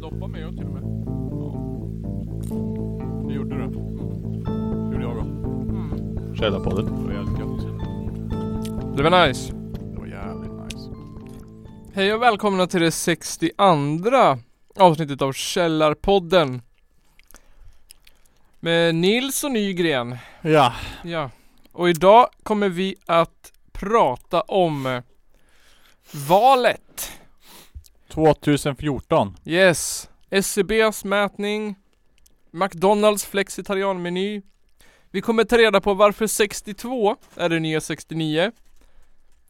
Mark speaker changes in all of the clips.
Speaker 1: Doppa med jag till och med. Det gjorde du.
Speaker 2: Mm.
Speaker 1: gjorde jag då.
Speaker 2: Källarpodden.
Speaker 1: Det var jävligt gött.
Speaker 3: Det var nice.
Speaker 1: Det var jävligt nice.
Speaker 3: Hej och välkomna till det 62 avsnittet av Källarpodden. Med Nils och Nygren.
Speaker 2: Ja.
Speaker 3: Ja. Och idag kommer vi att prata om eh, valet.
Speaker 2: 2014.
Speaker 3: Yes. SCBs mätning. McDonalds flexitarianmeny. Vi kommer ta reda på varför 62 är det nya 69.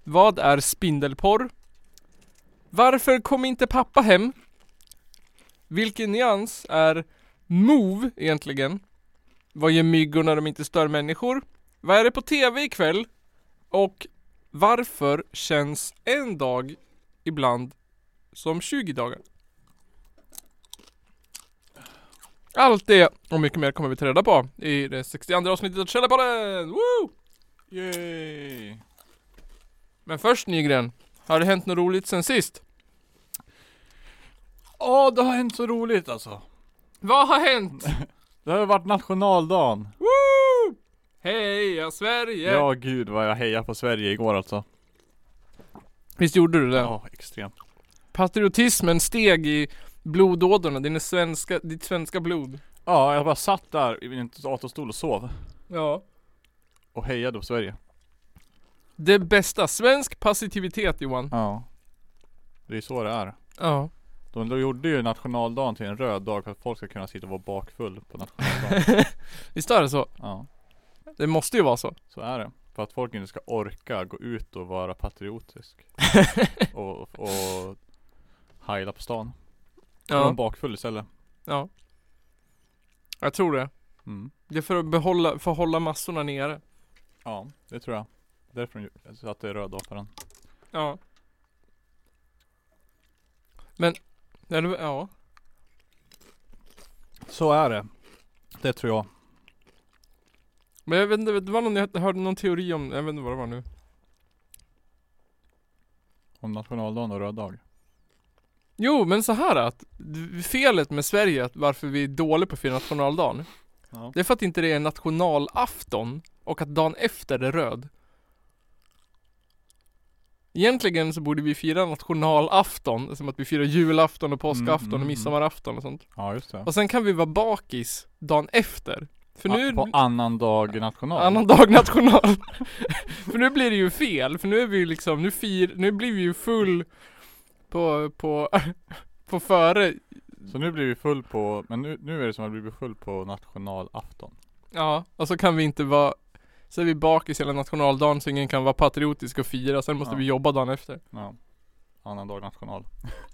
Speaker 3: Vad är spindelporr? Varför kom inte pappa hem? Vilken nyans är move egentligen? Vad gör myggor när de inte stör människor? Vad är det på TV ikväll? Och varför känns en dag ibland som 20 dagar? Allt det och mycket mer kommer vi ta reda på i det 62 avsnittet av Källarpodden! Woo!
Speaker 1: Yay!
Speaker 3: Men först Nygren, har det hänt något roligt sen sist?
Speaker 2: Åh, det har hänt så roligt alltså.
Speaker 3: Vad har hänt?
Speaker 2: Det har ju varit nationaldagen.
Speaker 3: Woo! Heja Sverige!
Speaker 2: Ja, gud vad jag hejade på Sverige igår alltså.
Speaker 3: Visst gjorde du det?
Speaker 2: Ja, extremt.
Speaker 3: Patriotismen steg i blodådrorna, din svenska, ditt svenska blod.
Speaker 2: Ja, jag bara satt där i min datorstol och sov.
Speaker 3: Ja.
Speaker 2: Och hejade på Sverige.
Speaker 3: Det bästa, svensk passivitet Johan.
Speaker 2: Ja. Det är ju så det är.
Speaker 3: Ja.
Speaker 2: De de gjorde ju nationaldagen till en röd dag för att folk ska kunna sitta och vara bakfull på nationaldagen.
Speaker 3: Visst är det så?
Speaker 2: Ja,
Speaker 3: Det måste ju vara så.
Speaker 2: så är det. För att folk inte ska orka gå ut och vara patriotisk. och, och heila på stan. Ja. Är de bakfull istället.
Speaker 3: ja. Jag tror det.
Speaker 2: Mm.
Speaker 3: Det är för att behålla, för att hålla massorna nere.
Speaker 2: Ja, det tror jag. Därför de gjorde- så att det är röd dag på den.
Speaker 3: Ja. Men, ja, det var- ja.
Speaker 2: Så är det. Det tror jag.
Speaker 3: Men jag vet inte, det var någon, jag hörde någon teori om, jag vet inte vad det var nu.
Speaker 2: Om nationaldagen och röd dag.
Speaker 3: Jo, men så här att felet med Sverige, att varför vi är dåliga på att fira nationaldagen.
Speaker 2: Ja.
Speaker 3: Det är för att inte det är nationalafton och att dagen efter är röd. Egentligen så borde vi fira nationalafton, som att vi firar julafton och påskafton
Speaker 2: Mm, mm,
Speaker 3: och midsommarafton och sånt.
Speaker 2: Ja, just det.
Speaker 3: Och sen kan vi vara bakis dagen efter. För nu,
Speaker 2: Ah, på annan dag national.
Speaker 3: Annan dag national. för nu blir det ju fel, för nu är vi ju liksom, nu fir, nu blir vi ju full på, på, på före,
Speaker 2: Så nu blir vi full på, men nu, nu är det som att vi blir full på nationalafton.
Speaker 3: ja, och så kan vi inte vara, så är vi bakis hela nationaldagen så ingen kan vara patriotisk och fira, sen måste
Speaker 2: Ja.
Speaker 3: vi jobba dagen efter.
Speaker 2: Ja. Annan dag national.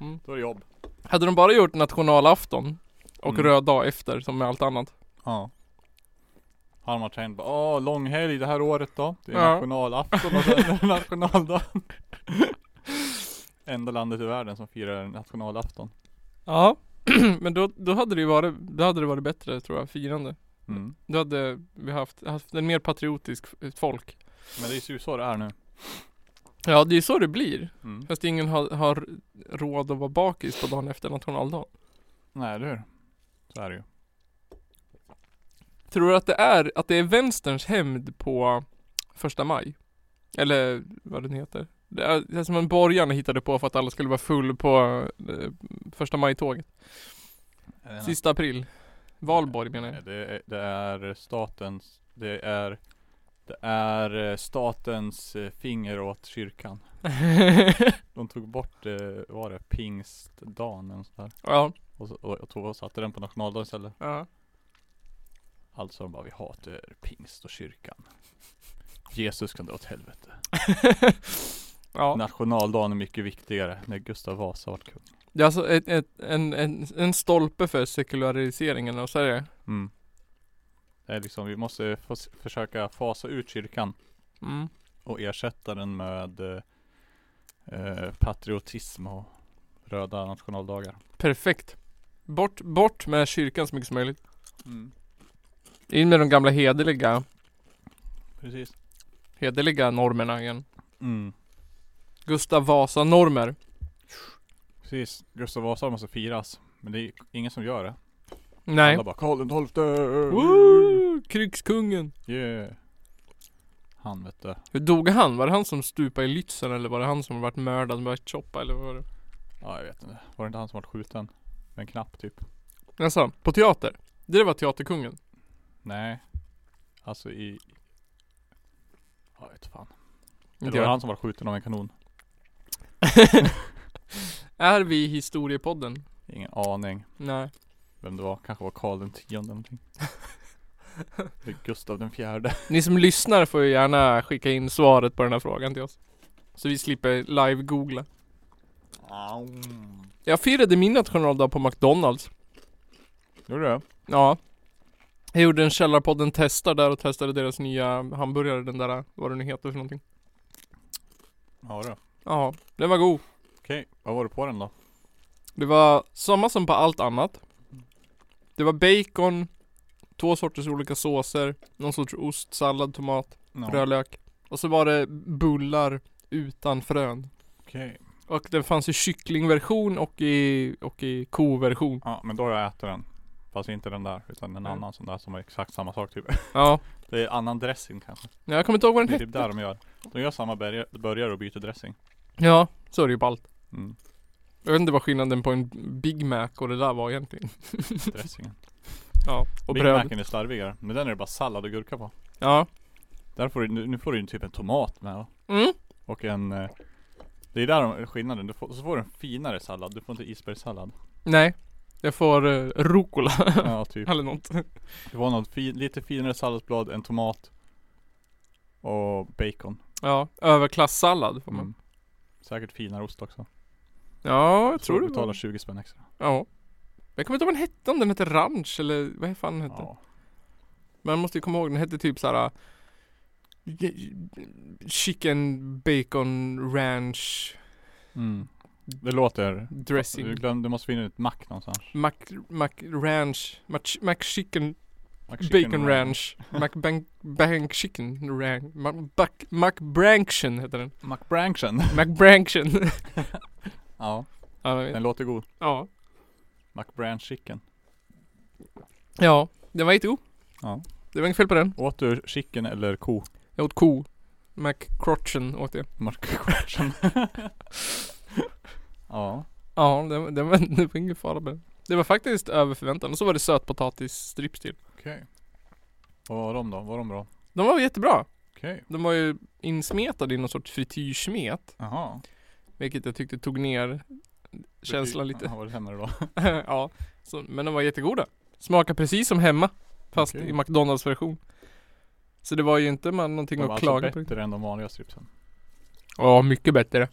Speaker 3: Mm.
Speaker 2: Då är det jobb.
Speaker 3: Hade de bara gjort nationalafton och
Speaker 2: Mm.
Speaker 3: röd dag efter som med allt annat.
Speaker 2: Ja. Har man tänkt bara, åh långhelg det här året då. Det är
Speaker 3: Ja.
Speaker 2: nationalafton och sen är det nationaldagen. Enda landet i världen som firar nationalafton.
Speaker 3: Ja. Men då, då hade det ju varit, då hade det varit bättre tror jag, firande.
Speaker 2: Mm.
Speaker 3: Då hade vi haft, haft en mer patriotisk f- eh, folk.
Speaker 2: Men det är ju så det är nu.
Speaker 3: Ja, det är så det blir.
Speaker 2: Mm.
Speaker 3: Fast ingen har, har råd att vara bakis på dagen efter nationaldagen.
Speaker 2: Nej, eller hur? Så är det ju.
Speaker 3: Tror du att det är, att det är vänsterns hämnd på första maj? Eller vad den heter. Det är, det är som en borgarna hittade på för att alla skulle vara full på eh, första maj-tåget. Sista april. Valborg menar
Speaker 2: Nej,
Speaker 3: jag.
Speaker 2: det, är, det är statens, det är, det är eh, statens eh, finger åt kyrkan. De tog bort, eh, vad var det, pingstdagen eller sådär.
Speaker 3: ja,
Speaker 2: Och, så- och, och tog och satte den på nationaldagen istället.
Speaker 3: ja.
Speaker 2: Alltså de bara, vi hatar pingst och kyrkan. Jesus kan dra åt helvete.
Speaker 3: ja.
Speaker 2: Nationaldagen är mycket viktigare. När Gustav Vasa vart kung.
Speaker 3: Det är alltså ett, ett, en, en, en stolpe för sekulariseringen av Sverige.
Speaker 2: Mm. Det är liksom, vi måste få, s- försöka fasa ut kyrkan.
Speaker 3: Mm.
Speaker 2: och ersätta den med eh, eh, patriotism och röda nationaldagar.
Speaker 3: Perfekt. Bort, bort med kyrkan så mycket som möjligt. Mm. In med de gamla hederliga
Speaker 2: Precis. Mm.
Speaker 3: hederliga normerna igen. Gustav Vasa-normer.
Speaker 2: Precis, Gustav Vasa måste firas. Men det är ingen som gör det.
Speaker 3: Nej.
Speaker 2: Alla bara Karl den tolfte!
Speaker 3: Woo! Krigskungen.
Speaker 2: Yeah! Han vet du.
Speaker 3: Hur dog han? Var det han som stupade i Lützen eller var det han som varit mördad med ett choppa eller vad var det?
Speaker 2: Ja jag vet inte. Var det inte han som vart skjuten? Med en knapp typ?
Speaker 3: Jaså, Alltså, på teater? Det var teaterkungen.
Speaker 2: Nej. Alltså i... Ja jag vet fan. Eller var det
Speaker 3: Inte jag.
Speaker 2: han som vart skjuten av en kanon?
Speaker 3: Är vi i historiepodden?
Speaker 2: Ingen aning
Speaker 3: Nej.
Speaker 2: vem det var. Kanske var Karl den tionde eller någonting. Eller Gustav den fjärde.
Speaker 3: Ni som lyssnar får ju gärna skicka in svaret på den här frågan till oss. Så vi slipper live-googla. Jag firade min nationaldag på McDonalds.
Speaker 2: Gjorde du det?
Speaker 3: Ja. Jag gjorde en Källarpodden testar där och testade deras nya hamburgare, den där, vad den nu heter för någonting.
Speaker 2: Ja du.
Speaker 3: Ja, den var god.
Speaker 2: Okej, vad var det på den då?
Speaker 3: Det var samma som på allt annat. Det var bacon, två sorters olika såser, någon sorts ost, sallad, tomat,
Speaker 2: Ja.
Speaker 3: rödlök. Och så var det bullar utan frön.
Speaker 2: Okej.
Speaker 3: Och den fanns i kycklingversion och i, och i koversion.
Speaker 2: Ja men då har jag ätit den. Fast inte den där utan en
Speaker 3: Mm.
Speaker 2: annan sån där som är exakt samma sak typ.
Speaker 3: Ja.
Speaker 2: Det är annan dressing kanske.
Speaker 3: Nej, Jag kommer inte ihåg vad
Speaker 2: Det är
Speaker 3: den hette.
Speaker 2: typ där de gör. De gör samma berg- burgare och byter dressing.
Speaker 3: Ja, så är det ju på allt.
Speaker 2: Mm.
Speaker 3: Jag vet inte vad skillnaden på en Big Mac och det där var egentligen.
Speaker 2: Dressingen.
Speaker 3: Ja, och
Speaker 2: Och Big
Speaker 3: bröd.
Speaker 2: Macen är slarvigare. Men den är det bara sallad och gurka på.
Speaker 3: Ja.
Speaker 2: Där får du, nu, nu får du ju typ en tomat med va?
Speaker 3: Mm.
Speaker 2: Och en eh, Det är där de- skillnaden. Du får, så får du en finare sallad. Du får inte isbergssallad.
Speaker 3: Nej. Jag får uh, rucola
Speaker 2: ja typ.
Speaker 3: eller något.
Speaker 2: Du får något fi, lite finare salladsblad, en tomat. Och bacon.
Speaker 3: Ja, överklassallad får man.
Speaker 2: Mm. Säkert finare ost också.
Speaker 3: Ja, jag tror
Speaker 2: du
Speaker 3: det
Speaker 2: betalar
Speaker 3: var.
Speaker 2: 20 spänn extra.
Speaker 3: Ja. Jag kommer inte ihåg vad den hette, om den hette ranch eller vad fan den hette.
Speaker 2: Ja.
Speaker 3: Men man måste ju komma ihåg, den hette typ såhär eh, Chicken Bacon Ranch
Speaker 2: Mm. Det låter Du,
Speaker 3: Dressing
Speaker 2: glömde, du måste finna ett mack någonstans.
Speaker 3: Mac, Mac Ranch Mac, Mac Chicken
Speaker 2: Mac
Speaker 3: Bacon Ranch Mac Bank, bank Chicken Ranch Mac, Mac, Mac Branction heter den
Speaker 2: McBranchen.
Speaker 3: Mac Branction
Speaker 2: ja,
Speaker 3: ja, jag
Speaker 2: den
Speaker 3: vet.
Speaker 2: låter god.
Speaker 3: ja.
Speaker 2: McBranch chicken.
Speaker 3: ja, den var jättegod
Speaker 2: Ja.
Speaker 3: Det var inget fel på den
Speaker 2: Åt du chicken eller ko?
Speaker 3: Jag åt ko Mac Crotchen åt jag
Speaker 2: McBranchen. ja.
Speaker 3: Ja, det, var- det, var, det var ingen fara med det. Det var faktiskt över förväntan. Och så var det sötpotatisstrips till.
Speaker 2: Okej. Vad var de då? Var de bra?
Speaker 3: De var jättebra.
Speaker 2: Okej.
Speaker 3: De var ju insmetade i någon sorts frityrsmet.
Speaker 2: Jaha.
Speaker 3: Vilket jag tyckte tog ner känslan
Speaker 2: Bety-
Speaker 3: lite.
Speaker 2: Ja, var det sämre då?
Speaker 3: ja, så, men de var jättegoda. Smakar precis som hemma. Fast
Speaker 2: Okej.
Speaker 3: i McDonalds version. Så det var ju inte man någonting
Speaker 2: De var
Speaker 3: att
Speaker 2: alltså
Speaker 3: klaga på.
Speaker 2: bättre än de vanliga stripsen.
Speaker 3: Ja, mycket bättre.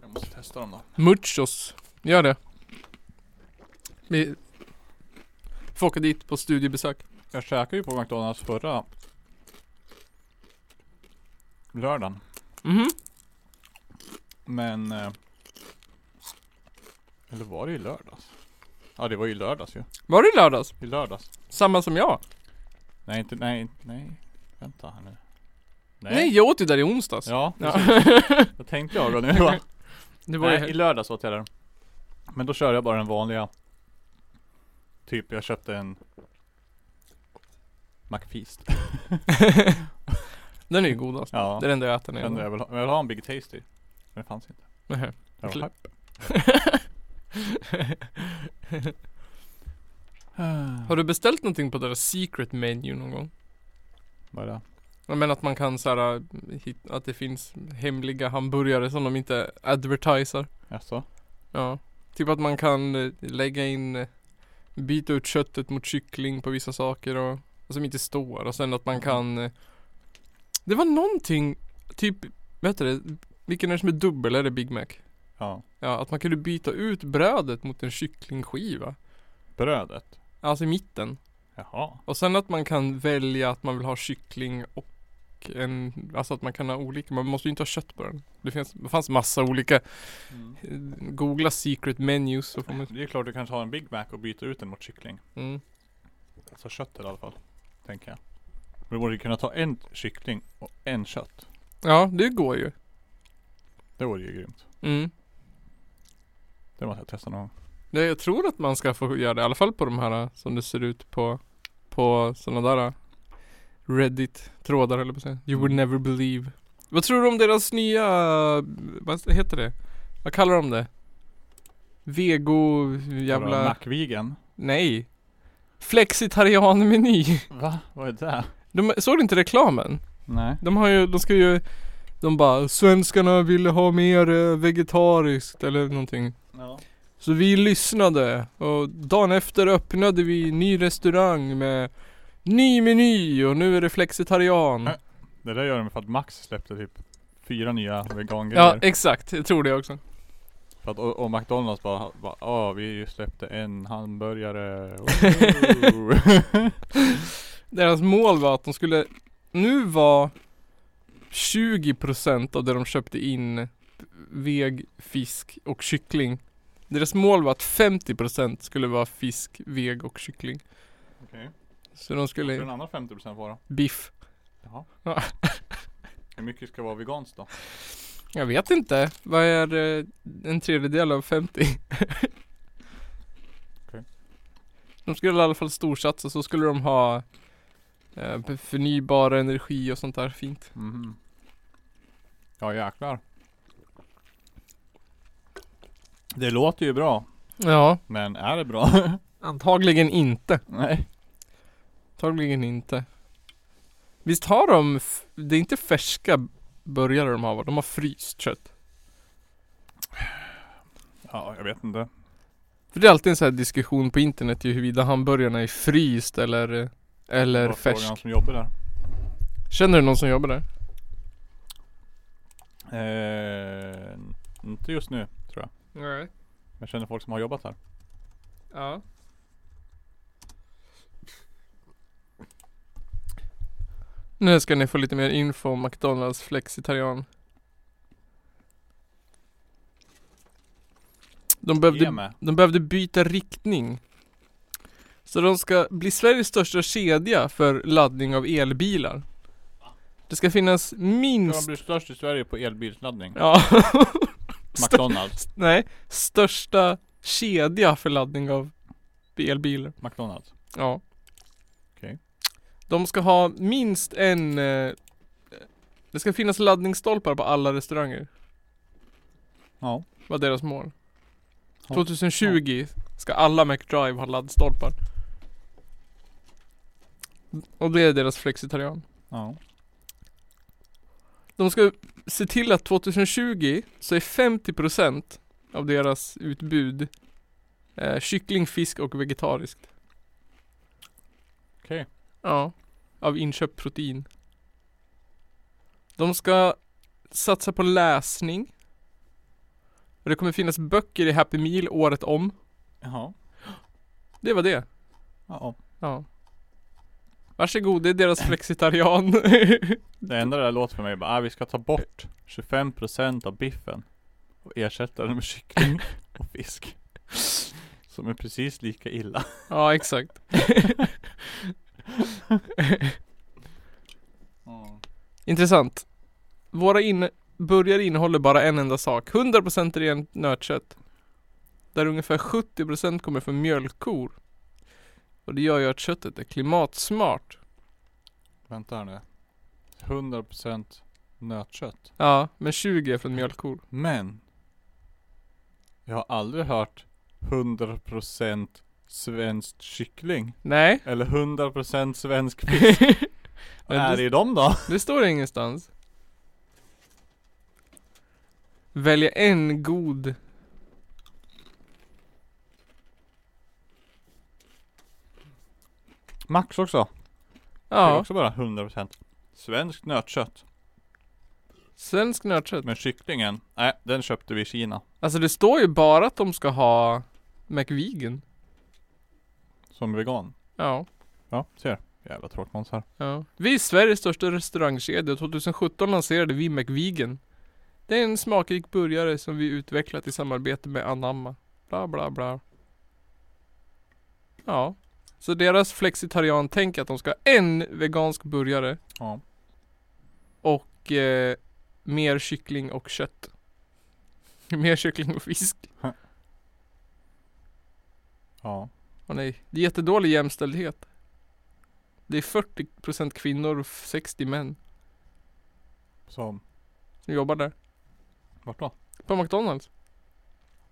Speaker 2: Jag måste testa dem då.
Speaker 3: Muchos. Gör det. Vi får åka dit på studiebesök.
Speaker 2: Jag käkade ju på McDonalds förra lördagen.
Speaker 3: Mhm.
Speaker 2: Men... Eh, eller var det i lördags? Ja det var ju i lördags ju.
Speaker 3: Var det i lördags?
Speaker 2: I lördags.
Speaker 3: Samma som jag.
Speaker 2: Nej inte, nej, nej. Vänta här nu.
Speaker 3: Nej, jag åt ju där i onsdags.
Speaker 2: Ja,
Speaker 3: Ja.
Speaker 2: precis. Vad tänkte jag då nu? Va?
Speaker 3: det var ju
Speaker 2: nej, i lördags åt jag där. Men då körde jag bara den vanliga. Typ jag köpte en McFeast.
Speaker 3: Den är ju godast.
Speaker 2: Ja.
Speaker 3: Det är den enda jag äter när
Speaker 2: Jag,
Speaker 3: jag
Speaker 2: jag, vill ha, jag vill ha en Big Tasty. Men det fanns inte.
Speaker 3: Nähä.
Speaker 2: Jag var
Speaker 3: Kli-
Speaker 2: hype. Ah.
Speaker 3: Har du beställt någonting på deras secret menu någon gång?
Speaker 2: Vad är det?
Speaker 3: Jag menar att man kan såhär, hit- att det finns hemliga hamburgare som de inte advertiser.
Speaker 2: Jaså?
Speaker 3: Ja. Typ att man kan eh, lägga in, eh, byta ut köttet mot kyckling på vissa saker och, och som inte står. Och sen att
Speaker 2: Mm.
Speaker 3: man kan eh, Det var någonting, typ, vad heter det? Vilken är det som är dubbel? Är det Big Mac?
Speaker 2: Ja.
Speaker 3: Ja, att man kunde byta ut brödet mot en kycklingskiva.
Speaker 2: Brödet?
Speaker 3: Alltså i mitten.
Speaker 2: Jaha.
Speaker 3: Och sen att man kan välja att man vill ha kyckling och en, alltså att man kan ha olika, man måste ju inte ha kött på den. Det, finns, det fanns massa olika,
Speaker 2: Mm.
Speaker 3: eh, googla secret menus så får man
Speaker 2: Det är klart du kanske har en Big Mac och byter ut den mot kyckling.
Speaker 3: mm.
Speaker 2: Alltså köttet i alla fall. Tänker jag. Men du borde kunna ta en kyckling och en kött.
Speaker 3: Ja, det går ju.
Speaker 2: Det vore ju grymt.
Speaker 3: Mm.
Speaker 2: Det måste jag testa någon gång.
Speaker 3: Nej, Jag tror att man ska få göra det, i alla fall på de här äh, som det ser ut på, på sådana där äh, Reddit-trådar eller på att säga. You would never believe. Vad tror du om deras nya, äh, vad heter det? Vad kallar de det? Vego,
Speaker 2: Vadå,
Speaker 3: jävla...
Speaker 2: Nackvigen?
Speaker 3: Nej. Flexitarian-meny.
Speaker 2: Va? Vad är det?
Speaker 3: De, såg du inte reklamen?
Speaker 2: Nej.
Speaker 3: De har ju, de ska ju De bara Svenskarna ville ha mer eh, vegetariskt eller någonting
Speaker 2: Ja.
Speaker 3: Så vi lyssnade och dagen efter öppnade vi ny restaurang med Ny meny och nu är det flexitarian
Speaker 2: Äh. Det där gör de för att Max släppte typ fyra nya
Speaker 3: Ja
Speaker 2: vegangrejer.
Speaker 3: exakt, jag tror det också
Speaker 2: för att, och, och McDonalds bara, bara ja vi släppte en hamburgare. Wow.
Speaker 3: Deras mål var att de skulle Nu var 20% av det de köpte in Veg, fisk och kyckling Deras mål var att 50% skulle vara fisk, veg och kyckling
Speaker 2: Okej.
Speaker 3: Så de
Speaker 2: Skulle den
Speaker 3: skulle
Speaker 2: andra 50% vara?
Speaker 3: biff.
Speaker 2: Jaha.
Speaker 3: Ja.
Speaker 2: Hur mycket ska vara veganskt då?
Speaker 3: Jag vet inte. Vad är eh, en tredjedel av 50?
Speaker 2: Okej.
Speaker 3: De skulle i alla fall storsatsa. Så skulle de ha eh, p- förnybar energi och sånt där fint.
Speaker 2: Mhm. Ja jäklar. Det låter ju bra.
Speaker 3: Ja.
Speaker 2: Men är det bra?
Speaker 3: Antagligen inte.
Speaker 2: Nej.
Speaker 3: Antagligen inte. Visst har de, f- det är inte färska burgare de har va? De har fryst kött.
Speaker 2: Ja jag vet inte.
Speaker 3: För det är alltid en sån här diskussion på internet ju huruvida hamburgarna är fryst eller, eh, eller
Speaker 2: Bara fråga någon
Speaker 3: färsk.
Speaker 2: som jobbar där.
Speaker 3: Känner du någon som jobbar där?
Speaker 2: Eh, inte just nu tror jag.
Speaker 3: Nej.
Speaker 2: Men jag känner folk som har jobbat här.
Speaker 3: Ja. Nu ska ni få lite mer info om McDonalds flexitarian. De
Speaker 2: Ge
Speaker 3: behövde,
Speaker 2: med.
Speaker 3: de behövde byta riktning. Så de ska bli Sveriges största kedja för laddning av elbilar. Det ska finnas
Speaker 2: Ska de
Speaker 3: minst...
Speaker 2: bli störst i Sverige på elbilsladdning?
Speaker 3: Ja. Stör-
Speaker 2: McDonalds.
Speaker 3: Nej, största kedja för laddning av elbilar.
Speaker 2: McDonalds.
Speaker 3: Ja.
Speaker 2: Okej.
Speaker 3: De ska ha minst en... Eh, det ska finnas laddningsstolpar på alla restauranger.
Speaker 2: Ja.
Speaker 3: Var deras mål.
Speaker 2: Ja.
Speaker 3: 2020 ska alla McDrive ha laddstolpar. Och det är deras flexitarian.
Speaker 2: Ja.
Speaker 3: De ska se till att 2020 så är 50% av deras utbud eh, kyckling, fisk och vegetariskt.
Speaker 2: Okej.
Speaker 3: Ja. Av inköpt protein. De ska satsa på läsning. Och det kommer finnas böcker i Happy Meal året om.
Speaker 2: Jaha.
Speaker 3: Det var det.
Speaker 2: Ja.
Speaker 3: Ja. Varsågod, det är deras flexitarian.
Speaker 2: Det enda det där låter för mig är bara, ah, vi ska ta bort 25% av biffen och ersätta den med kyckling och fisk. Som är precis lika illa.
Speaker 3: ja, exakt. Intressant. Våra in burgare innehåller bara en enda sak. 100% rent nötkött. Där ungefär 70% kommer från mjölkkor. Och det gör ju att köttet är klimatsmart.
Speaker 2: Vänta här nu. 100% nötkött.
Speaker 3: Ja, men 20 är från mjölkkor.
Speaker 2: Men. Jag har aldrig hört 100% svenskt kyckling.
Speaker 3: Nej,
Speaker 2: Eller 100% svensk fisk. Vad
Speaker 3: Men
Speaker 2: är
Speaker 3: det-
Speaker 2: det i dem då?
Speaker 3: det står det ingenstans. Välja en god.
Speaker 2: Max också. Det är
Speaker 3: Ja,
Speaker 2: också bara 100% Svenskt nötkött.
Speaker 3: svensk nötkött.
Speaker 2: Men kycklingen, nej den köpte vi i Kina.
Speaker 3: Alltså det står ju bara att de ska ha McVegan.
Speaker 2: Som vegan.
Speaker 3: Ja.
Speaker 2: Ja, ser. Jävla tråkmånsar.
Speaker 3: Ja. Vi är Sveriges största restaurangkedja och 2017 lanserade vi McVegan. Det är en smakrik burgare som vi utvecklat i samarbete med Anamma. Bla bla bla. Ja. Så deras flexitarian tänker att de ska ha en vegansk burgare
Speaker 2: Ja.
Speaker 3: och eh, mer kyckling och kött. mer kyckling och fisk.
Speaker 2: Ja.
Speaker 3: Åh nej, det är jättedålig jämställdhet. Det är 40% kvinnor och 60 män
Speaker 2: Som,
Speaker 3: som jobbar där.
Speaker 2: vart då?
Speaker 3: På McDonalds.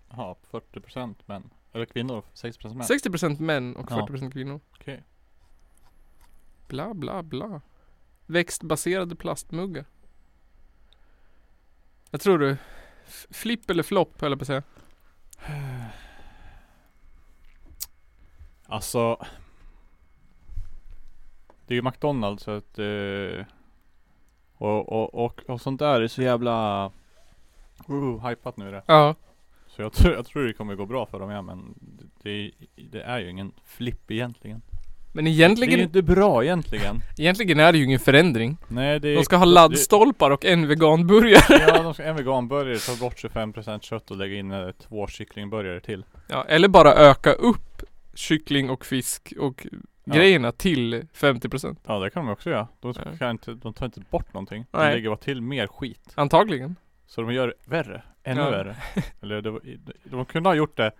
Speaker 2: Jaha, 40% män. Eller kvinnor, 60% män.
Speaker 3: 60% män och
Speaker 2: Ja.
Speaker 3: 40% kvinnor.
Speaker 2: Okej.
Speaker 3: Bla bla bla. Växtbaserade plastmuggar. Jag tror du. f- Flipp eller flopp höll jag på att säga.
Speaker 2: Alltså. Det är ju McDonalds så att. Eh, och, och, och, och sånt där är så jävla. Uh, hypat nu är det.
Speaker 3: Ja.
Speaker 2: Så jag, tror- jag tror det kommer gå bra för dem ja men. Det, det är ju ingen flipp egentligen.
Speaker 3: Men
Speaker 2: Det är
Speaker 3: egentligen,
Speaker 2: ju inte bra egentligen.
Speaker 3: egentligen är det ju ingen förändring.
Speaker 2: Nej det är.
Speaker 3: De ska ha
Speaker 2: det-
Speaker 3: laddstolpar och en veganburgare.
Speaker 2: Ja de ska en veganburgare ta bort 25% kött och lägga in eh, två kycklingburgare till.
Speaker 3: Ja, eller bara öka upp kyckling och fisk och
Speaker 2: Ja.
Speaker 3: grejerna till 50%.
Speaker 2: Ja det kan de också göra. De,
Speaker 3: Ja.
Speaker 2: ska inte, de tar inte bort någonting. De
Speaker 3: Nej.
Speaker 2: lägger bara till mer skit.
Speaker 3: Antagligen.
Speaker 2: Så de gör det värre, ännu
Speaker 3: Ja.
Speaker 2: värre. Eller det, var- de kunde ha gjort det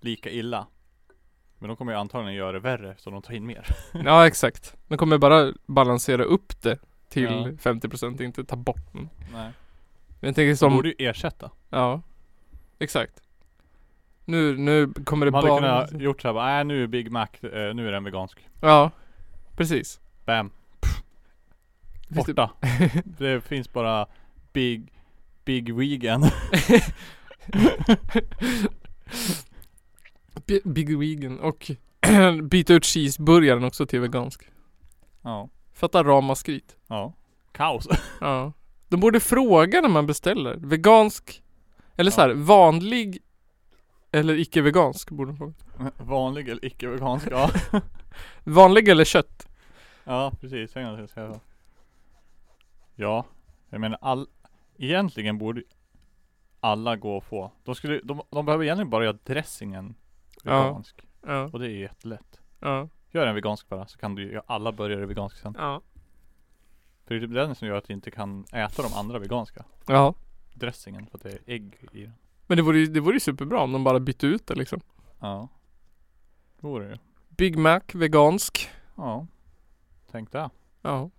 Speaker 2: lika illa. Men de kommer ju antagligen göra det värre så de tar in mer.
Speaker 3: Ja, exakt. De kommer bara balansera upp det till
Speaker 2: Ja.
Speaker 3: 50% inte ta bort den.
Speaker 2: Nej.
Speaker 3: Men jag tänker
Speaker 2: De
Speaker 3: som...
Speaker 2: borde ju ersätta.
Speaker 3: Ja. Exakt. Nu, nu kommer det
Speaker 2: De hade
Speaker 3: bara...
Speaker 2: kunnat gjort såhär bara, nej nu är Big Mac, eh, nu är den vegansk.
Speaker 3: Ja. Precis.
Speaker 2: Bam,
Speaker 3: Finns typ- det-
Speaker 2: borta. det finns bara Big, Big Vegan.
Speaker 3: Bi- Big Vegan och byta ut cheeseburgaren också till vegansk.
Speaker 2: ja.
Speaker 3: Fatta ramaskrit.
Speaker 2: Ja. Kaos.
Speaker 3: Ja. De borde fråga när man beställer. Vegansk. Eller så här, vanlig. Eller icke vegansk borde de fråga.
Speaker 2: Vanlig eller icke vegansk, ja.
Speaker 3: Vanlig eller kött.
Speaker 2: Ja precis, en gång till ska jag säga så. Ja, jag menar all, egentligen borde alla gå och få. De, skulle, de, de behöver egentligen bara göra dressingen
Speaker 3: Ja.
Speaker 2: vegansk.
Speaker 3: Ja.
Speaker 2: Och det är jättelätt.
Speaker 3: Ja.
Speaker 2: Gör en vegansk bara så kan du göra alla burgare veganska sen.
Speaker 3: Ja.
Speaker 2: För det är typ den som gör att du inte kan äta de andra veganska.
Speaker 3: Ja.
Speaker 2: Dressingen för att det är ägg i den.
Speaker 3: Men det vore ju, det vore ju superbra om de bara bytte ut det liksom.
Speaker 2: Ja. Det vore det ju.
Speaker 3: Big Mac vegansk.
Speaker 2: Ja. Tänk det.
Speaker 3: Ja.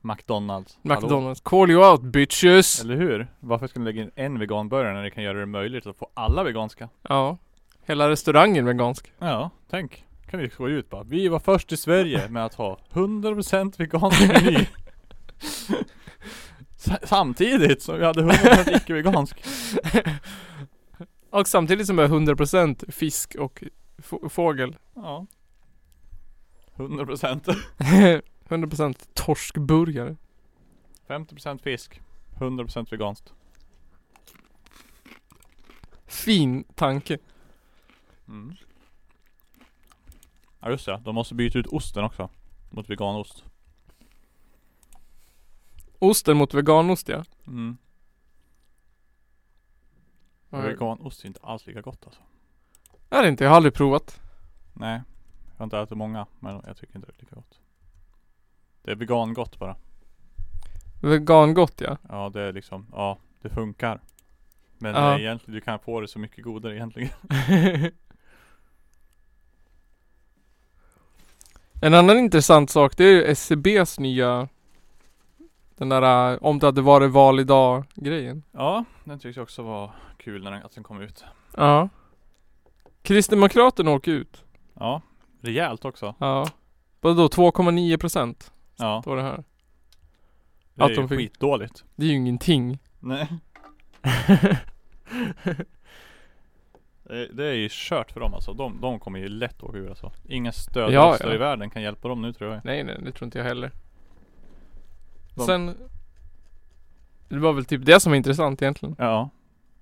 Speaker 2: McDonalds. Hallå.
Speaker 3: McDonalds. Call you out bitches.
Speaker 2: Eller hur? Varför ska du lägga in en veganburgare när det kan göra det möjligt att få alla veganska?
Speaker 3: Ja. Hela restaurangen vegansk.
Speaker 2: Ja, tänk. Kan vi gå ut bara. Vi var först i Sverige med att ha 100% vegansk meny. Sa- Samtidigt som vi hade 100% icke-vegansk.
Speaker 3: och samtidigt som är 100% fisk och f- fågel.
Speaker 2: Ja. 100%.
Speaker 3: 100% torskburgare.
Speaker 2: 50% fisk. 100% veganskt.
Speaker 3: Fin tanke.
Speaker 2: Mm. Ja just det, de måste byta ut osten också. Mot veganost.
Speaker 3: Osten mot veganost ja.
Speaker 2: Mm. Och Veganost är inte alls lika gott alltså.
Speaker 3: Är det inte? Jag har aldrig provat.
Speaker 2: Nej. Jag har inte ätit många, men jag tycker inte det är lika gott. Det är vegangott bara.
Speaker 3: Vegangott ja.
Speaker 2: Ja det är liksom, ja det funkar. Men
Speaker 3: Ja.
Speaker 2: det är egentligen, du kan få det så mycket godare egentligen.
Speaker 3: en annan intressant sak det är ju SCBs nya den där äh, om det hade varit val idag grejen.
Speaker 2: Ja, den tyckte jag också var kul när den, att den kom ut.
Speaker 3: Ja. Kristdemokraterna åker ut.
Speaker 2: Ja, rejält också.
Speaker 3: Ja. Vadå 2,9 procent?
Speaker 2: Ja,
Speaker 3: Står det här.
Speaker 2: det är
Speaker 3: Att de
Speaker 2: ju
Speaker 3: fick-
Speaker 2: skitdåligt.
Speaker 3: Det är ju ingenting.
Speaker 2: Nej. Det, det är ju kört för dem alltså. De, de kommer ju lätt åka ur alltså. Inga stödröster
Speaker 3: Ja, ja.
Speaker 2: i världen kan hjälpa dem nu tror jag.
Speaker 3: Nej nej, det tror inte jag heller.
Speaker 2: De-
Speaker 3: Sen Det var väl typ det som var intressant egentligen.
Speaker 2: Ja.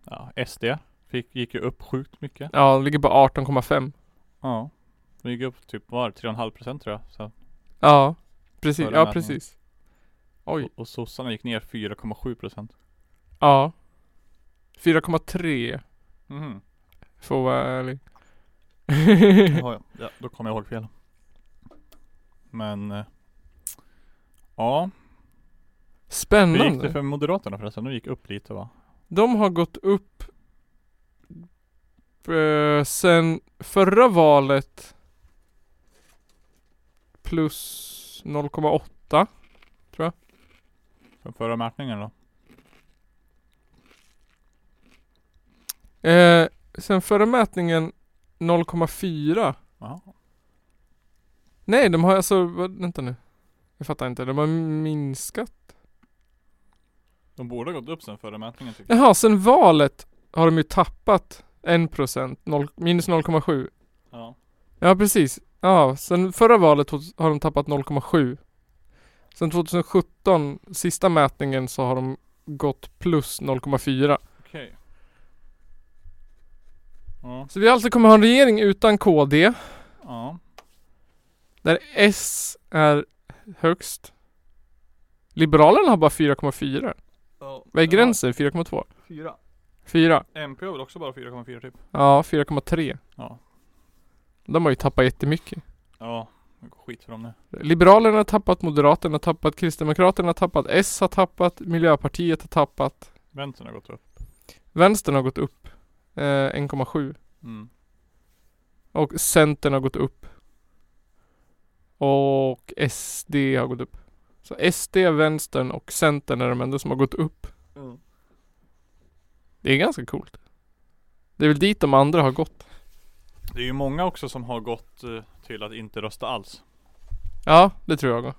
Speaker 2: Ja, SD fick, gick ju upp sjukt mycket.
Speaker 3: Ja, det ligger på 18,5.
Speaker 2: Ja. De gick upp typ, var det 3,5% tror jag. Så
Speaker 3: Ja, precis.
Speaker 2: Förra
Speaker 3: Ja,
Speaker 2: mätningen.
Speaker 3: precis. Oj.
Speaker 2: Och, och sossarna gick ner 4,7%
Speaker 3: Ja. 4,3
Speaker 2: Mhm,
Speaker 3: för att vara ärlig.
Speaker 2: jaha, ja. ja, då kommer jag ihåg fel Men eh, Ja, hur gick det
Speaker 3: Spännande.
Speaker 2: för Moderaterna förresten? De gick upp lite va?
Speaker 3: De har gått upp eh, sen förra valet plus 0,8.
Speaker 2: Från förra mätningen då?
Speaker 3: Eh, sen förra mätningen 0,4.
Speaker 2: Jaha.
Speaker 3: Nej, de har alltså, vad- vänta nu. Jag fattar inte, de har minskat.
Speaker 2: De borde ha gått upp sen förra mätningen tycker jag.
Speaker 3: Jaha, sen valet har de ju tappat 1%, noll- minus 0,7.
Speaker 2: Ja.
Speaker 3: Ja precis. Ja, sen förra valet to- har de tappat 0,7. Sen 2017, sista mätningen, så har de gått plus 0,4.
Speaker 2: Okej. Ja.
Speaker 3: Så vi alltså kommer ha en regering utan KD,
Speaker 2: Ja.
Speaker 3: där S är högst. Liberalerna har bara 4,4. Vad är gränsen? 4,2?
Speaker 2: Fyra.
Speaker 3: 4?
Speaker 2: MP har väl också bara 4,4 typ?
Speaker 3: Ja, 4,3.
Speaker 2: Ja.
Speaker 3: De har ju tappat jättemycket.
Speaker 2: Ja. Det går skit för dem nu.
Speaker 3: Liberalerna har tappat, Moderaterna har tappat, Kristdemokraterna har tappat, S har tappat, Miljöpartiet har tappat.
Speaker 2: Vänstern har gått upp.
Speaker 3: Vänstern har gått upp eh, 1,7
Speaker 2: Mm.
Speaker 3: och Centern har gått upp. Och SD har gått upp. Så SD, Vänstern och Centern är de enda som har gått upp.
Speaker 2: Mm.
Speaker 3: Det är ganska coolt. Det är väl dit de andra har gått.
Speaker 2: Det är ju många också som har gått eh, till att inte rösta alls.
Speaker 3: Ja, det tror jag.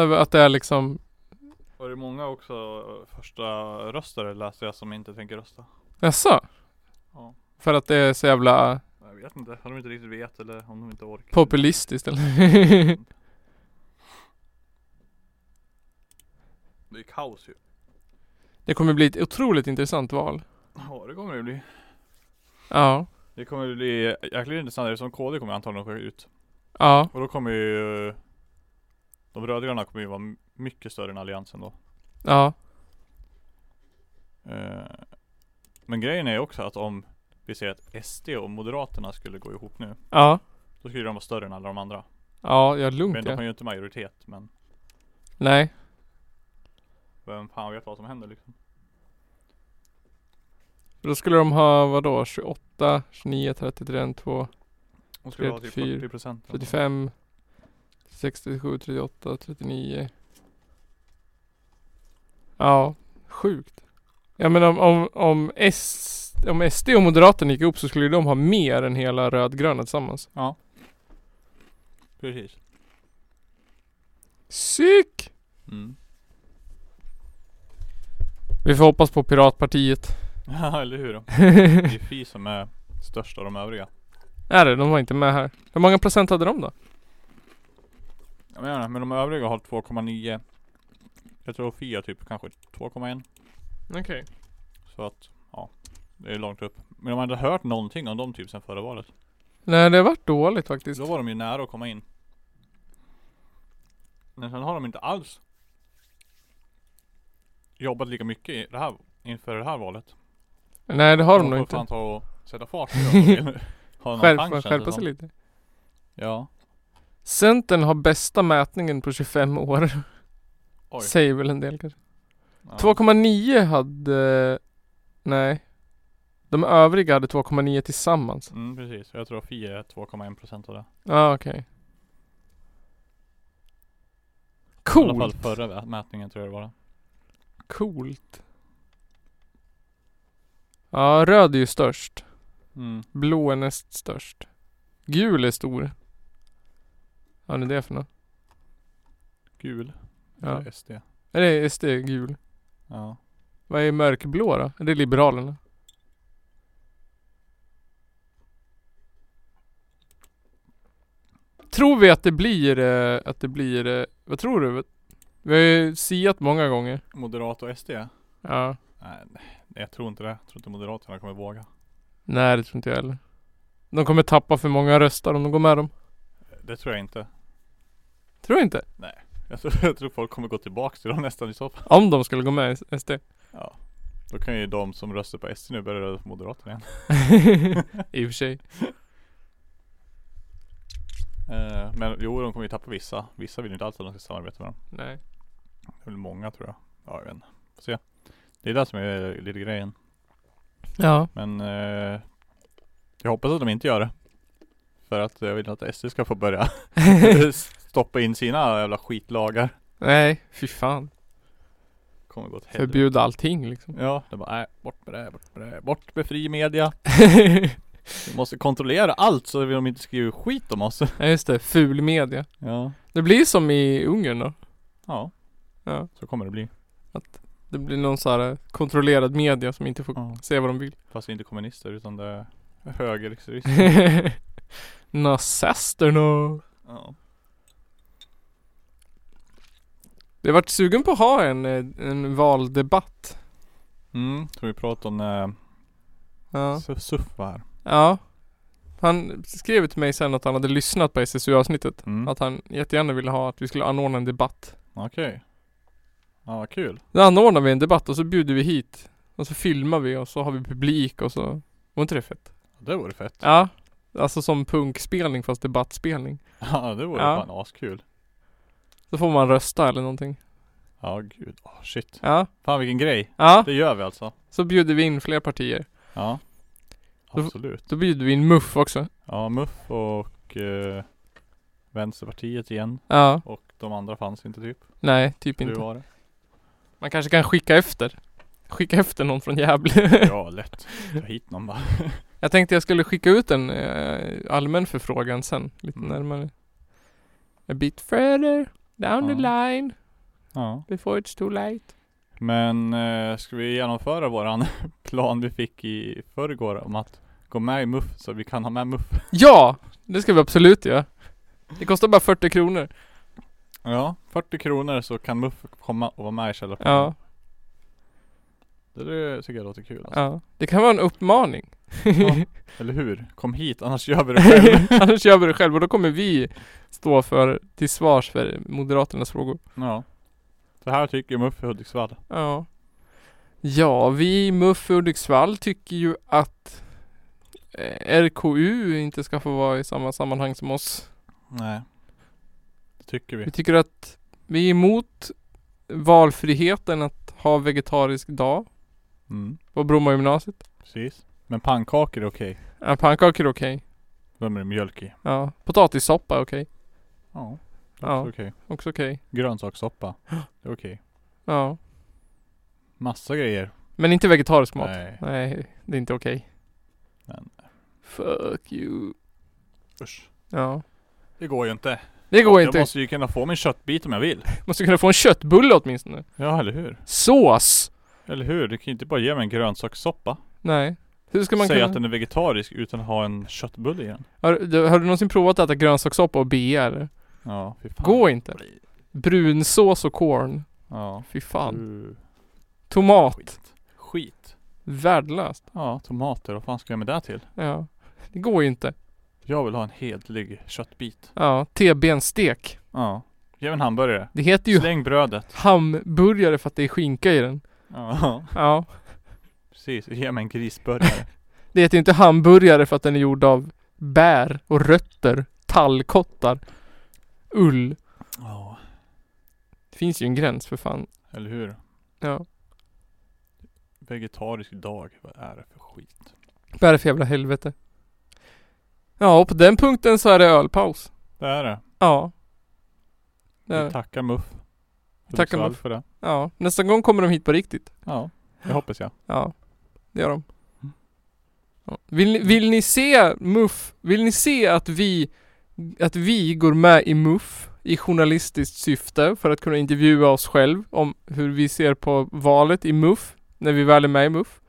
Speaker 3: Över Att det är liksom,
Speaker 2: Och det är många också eh, första röstare läser jag som inte tänker rösta.
Speaker 3: jaså?
Speaker 2: Ja.
Speaker 3: För att det är så jävla
Speaker 2: Jag vet inte, om de inte riktigt vet eller om de inte orkar.
Speaker 3: populistiskt eller?
Speaker 2: Det är kaos ju.
Speaker 3: det kommer bli ett otroligt intressant val.
Speaker 2: Ja det kommer det bli.
Speaker 3: Ja,
Speaker 2: Det kommer bli jäkligt intressant eftersom KD kommer antagligen åka ut.
Speaker 3: ja,
Speaker 2: Och då kommer ju eh, De rödgröna kommer ju vara mycket större än alliansen då.
Speaker 3: ja,
Speaker 2: Eh, Men grejen är ju också att om vi ser att SD och Moderaterna skulle gå ihop nu.
Speaker 3: ja.
Speaker 2: Då skulle de vara större än alla de andra.
Speaker 3: Ja, jag lugnt
Speaker 2: Men de
Speaker 3: ja.
Speaker 2: har ju inte majoritet men
Speaker 3: Nej.
Speaker 2: vem fan vet vad som händer liksom.
Speaker 3: Då skulle de ha vadå? 28, 29, 33, 2,
Speaker 2: De skulle ha typ
Speaker 3: 34,
Speaker 2: 40 procent.
Speaker 3: 35, 67, 38, 39. Ja, sjukt. Ja men om, om, om, S, om SD och Moderaterna gick upp så skulle ju de ha mer än hela rödgröna tillsammans.
Speaker 2: Precis.
Speaker 3: Psyk!
Speaker 2: Mm.
Speaker 3: Vi får hoppas på Piratpartiet.
Speaker 2: Ja eller hur. Det är Fi som är störst av de övriga.
Speaker 3: Är det? De var inte med här. Hur många procent hade de då?
Speaker 2: Jag menar, men de övriga har 2,9 Jag tror Fi har typ kanske 2,1
Speaker 3: Okej.
Speaker 2: Så att, ja Det är långt upp Men de hade hört någonting om dem typ sen förra valet
Speaker 3: Nej det har varit dåligt faktiskt.
Speaker 2: Då var de ju nära att komma in Men sen har de inte alls Jobbat lika mycket i det här, inför det här valet
Speaker 3: Nej det har de
Speaker 2: får
Speaker 3: nog inte.
Speaker 2: fan ta och sätta fart på det om de vill ha någon chans,
Speaker 3: Skärpa,
Speaker 2: känns det
Speaker 3: skärpa sig
Speaker 2: som.
Speaker 3: lite.
Speaker 2: Ja
Speaker 3: Centern har bästa mätningen på 25 år.
Speaker 2: Oj.
Speaker 3: Säger väl en del kanske.
Speaker 2: ja.
Speaker 3: 2,9 hade... Nej. De övriga hade 2,9 tillsammans.
Speaker 2: Mm precis, jag tror Fi är 2,1% av det
Speaker 3: Ja okej.
Speaker 2: I alla
Speaker 3: Coolt.
Speaker 2: fall förra mätningen tror jag det var
Speaker 3: Coolt. Ja, röd är ju störst.
Speaker 2: mm.
Speaker 3: Blå är näst störst. Gul är stor. Vad är det för något?
Speaker 2: Gul.
Speaker 3: Ja.
Speaker 2: Eller SD.
Speaker 3: Eller SD är gul.
Speaker 2: Ja.
Speaker 3: Vad är mörkblå då? Är det Liberalerna? Tror vi att det blir, eh, att det blir, eh, vad tror du? Vi har ju siat många gånger.
Speaker 2: Moderat och SD?
Speaker 3: Ja.
Speaker 2: Nej, nej, jag tror inte det. Jag tror inte Moderaterna kommer våga.
Speaker 3: Nej det tror inte jag heller. De kommer tappa för många röster om de går med dem.
Speaker 2: Det tror jag inte.
Speaker 3: Tror du inte?
Speaker 2: Jag tror, jag tror folk kommer gå tillbaks till dem nästan i så fall.
Speaker 3: Om de skulle gå med i SD.
Speaker 2: Ja. Då kan ju de som röstar på SD nu börja rösta på Moderaterna igen.
Speaker 3: I och för sig.
Speaker 2: Eh, men jo, de kommer ju tappa vissa. Vissa vill ju inte alls att de ska samarbeta med dem.
Speaker 3: Nej.
Speaker 2: Det är väl många tror jag. Ja, jag vet inte. Får se. Det är det som är lite grejen.
Speaker 3: Ja.
Speaker 2: Men eh, jag hoppas att de inte gör det. För att jag vill att SD ska få börja stoppa in sina jävla skitlagar.
Speaker 3: Nej, fy fan.
Speaker 2: Kommer gå åt helvete.
Speaker 3: Förbjuda allting liksom.
Speaker 2: Ja, det bara nej, bort med det, bort med det, bort med fri media. Vi måste kontrollera allt så de inte skriver skit om oss.
Speaker 3: ja, just det. Ful media.
Speaker 2: Ja,
Speaker 3: Det blir som i Ungern då.
Speaker 2: ja.
Speaker 3: Ja.
Speaker 2: Så kommer det bli.
Speaker 3: Det blir någon så här eh, kontrollerad media som inte får
Speaker 2: Ja.
Speaker 3: se vad de vill.
Speaker 2: Fast det är inte kommunister utan det är högerextremister.
Speaker 3: Nazisterna.
Speaker 2: Ja.
Speaker 3: Jag har varit sugen på att ha en, eh, en valdebatt.
Speaker 2: Mm, så vi pratade om när
Speaker 3: Ja.
Speaker 2: Su- SUF var här.
Speaker 3: ja. Han skrev till mig sen att han hade lyssnat på SSU-avsnittet.
Speaker 2: Mm.
Speaker 3: Att han jättegärna ville ha att vi skulle anordna en debatt.
Speaker 2: Okej. Ja, vad kul.
Speaker 3: Då anordnar vi en debatt och så bjuder vi hit. Och så filmar vi och så har vi publik och så. Var inte det fett?
Speaker 2: Det vore fett.
Speaker 3: Ja. Alltså som punkspelning fast debattspelning.
Speaker 2: Ja, det vore
Speaker 3: Ja.
Speaker 2: fan askul.
Speaker 3: Då får man rösta eller någonting.
Speaker 2: Ja, gud. Oh, shit.
Speaker 3: Ja.
Speaker 2: Fan vilken grej.
Speaker 3: Ja.
Speaker 2: Det gör vi alltså.
Speaker 3: Så bjuder vi in fler partier.
Speaker 2: Ja.
Speaker 3: Då-
Speaker 2: Absolut.
Speaker 3: Då bjuder vi in MUF också.
Speaker 2: Ja, MUF och eh, Vänsterpartiet igen.
Speaker 3: Ja.
Speaker 2: Och de andra fanns inte typ.
Speaker 3: Nej, typ
Speaker 2: Hur
Speaker 3: inte.
Speaker 2: var det?
Speaker 3: Man kanske kan skicka efter. Skicka efter någon från Gävle.
Speaker 2: Ja, lätt. Ta hit någon bara.
Speaker 3: Jag tänkte jag skulle skicka ut en eh, allmän förfrågan sen. Lite
Speaker 2: Mm.
Speaker 3: närmare. A bit further down the line
Speaker 2: Ja.
Speaker 3: before it's too late.
Speaker 2: Men eh, ska vi genomföra våran plan vi fick i förrgår om att gå med i MUF så vi kan ha med MUF?
Speaker 3: Ja! Det ska vi absolut göra. Det kostar bara 40 kronor.
Speaker 2: Ja, 40 kronor så kan MUF komma och vara med i Källarpodden.
Speaker 3: Ja,
Speaker 2: Det, det tycker jag låter kul alltså.
Speaker 3: ja. Det kan vara en uppmaning.
Speaker 2: Ja, Eller hur? Kom hit annars gör vi det själv.
Speaker 3: Annars gör vi det själv och då kommer vi stå för till svars för Moderaternas frågor.
Speaker 2: ja. Så här tycker MUF i Hudiksvall.
Speaker 3: Ja. Ja, vi i MUF Hudiksvall tycker ju att eh, RKU inte ska få vara i samma sammanhang som oss.
Speaker 2: Nej. Det tycker vi.
Speaker 3: Vi tycker att vi är emot valfriheten att ha vegetarisk dag
Speaker 2: Mm,
Speaker 3: på Bromma gymnasiet.
Speaker 2: precis. Men pannkakor är okej.
Speaker 3: Ja, pannkakor är okej.
Speaker 2: Då är det mjölk i.
Speaker 3: Ja. Potatissoppa är okej.
Speaker 2: Ja. Det är
Speaker 3: Ja.
Speaker 2: också okej.
Speaker 3: Också okej.
Speaker 2: Grönsakssoppa. Det är okej.
Speaker 3: Ja.
Speaker 2: Massa grejer.
Speaker 3: Men inte vegetarisk mat.
Speaker 2: Nej.
Speaker 3: Nej, det är inte okej.
Speaker 2: Men-
Speaker 3: Fuck you.
Speaker 2: Usch.
Speaker 3: Ja.
Speaker 2: Det går ju inte.
Speaker 3: Det går
Speaker 2: Jag
Speaker 3: inte.
Speaker 2: måste ju kunna få min köttbit om jag vill.
Speaker 3: Måste kunna få en köttbulle åtminstone.
Speaker 2: Ja, eller hur?
Speaker 3: Sås!
Speaker 2: Eller hur? Du kan ju inte bara ge mig en grönsakssoppa.
Speaker 3: Nej. Hur ska man
Speaker 2: Säga
Speaker 3: kunna...
Speaker 2: att den är vegetarisk utan att ha en köttbulle igen.
Speaker 3: Har, du- har du någonsin provat att äta grönsakssoppa och bea eller?
Speaker 2: Ja, fy fan.
Speaker 3: Gå inte. Brunsås och korn.
Speaker 2: Ja.
Speaker 3: Fy fan.
Speaker 2: Uh,
Speaker 3: Tomat.
Speaker 2: skit. Skit.
Speaker 3: Värdelöst.
Speaker 2: Ja, tomater. Vad fan ska jag med det till?
Speaker 3: Ja. Det går ju inte.
Speaker 2: Jag vill ha en hedlig köttbit.
Speaker 3: Ja. T-benstek.
Speaker 2: Ja. Ge mig en hamburgare.
Speaker 3: Det heter ju
Speaker 2: Släng brödet.
Speaker 3: hamburgare för att det är skinka i den.
Speaker 2: Ja,
Speaker 3: Ja.
Speaker 2: precis. Ge mig en grisburgare.
Speaker 3: Det heter ju inte hamburgare för att den är gjord av bär och rötter. Tallkottar. Ull.
Speaker 2: Ja,
Speaker 3: Det finns ju en gräns för fan.
Speaker 2: eller hur?
Speaker 3: Ja.
Speaker 2: Vegetarisk dag. Vad är det för skit?
Speaker 3: Vad är det för jävla helvete? Ja, och på den punkten så är det ölpaus.
Speaker 2: Det är det.
Speaker 3: Ja. Det är
Speaker 2: Vi
Speaker 3: det.
Speaker 2: tackar MUF.
Speaker 3: Tackar
Speaker 2: Hudiksvall
Speaker 3: MUF.
Speaker 2: för det.
Speaker 3: Ja. Nästa gång kommer de hit på riktigt.
Speaker 2: Ja, det hoppas jag.
Speaker 3: Ja. Det gör de. Ja. Vill, ni, vill ni se MUF? Vill ni se att vi, att vi går med i MUF i journalistiskt syfte för att kunna intervjua oss själv om hur vi ser på valet i MUF när vi väl är med i MUF?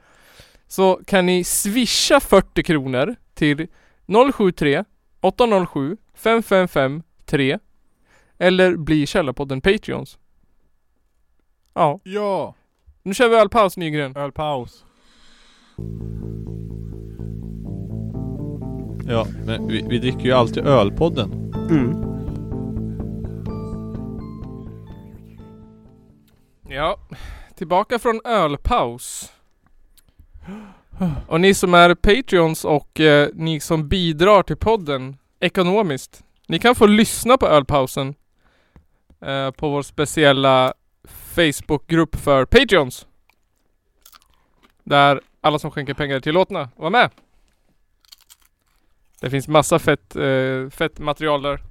Speaker 3: Så kan ni swisha 40 kronor till 073 807 555 3 eller bli Källarpodden Patreons. Ja,
Speaker 2: Ja!
Speaker 3: nu kör vi ölpaus Nygren.
Speaker 2: Ölpaus.
Speaker 1: Ja, men vi, vi dricker ju alltid ölpodden.
Speaker 3: Ja, tillbaka från ölpaus. Och ni som är Patreons och eh, ni som bidrar till podden ekonomiskt. Ni kan få lyssna på ölpausen eh, på vår speciella Facebookgrupp för Patreons. Där alla som skänker pengar är tillåtna att vara med. Det finns massa fett, eh, fett material där.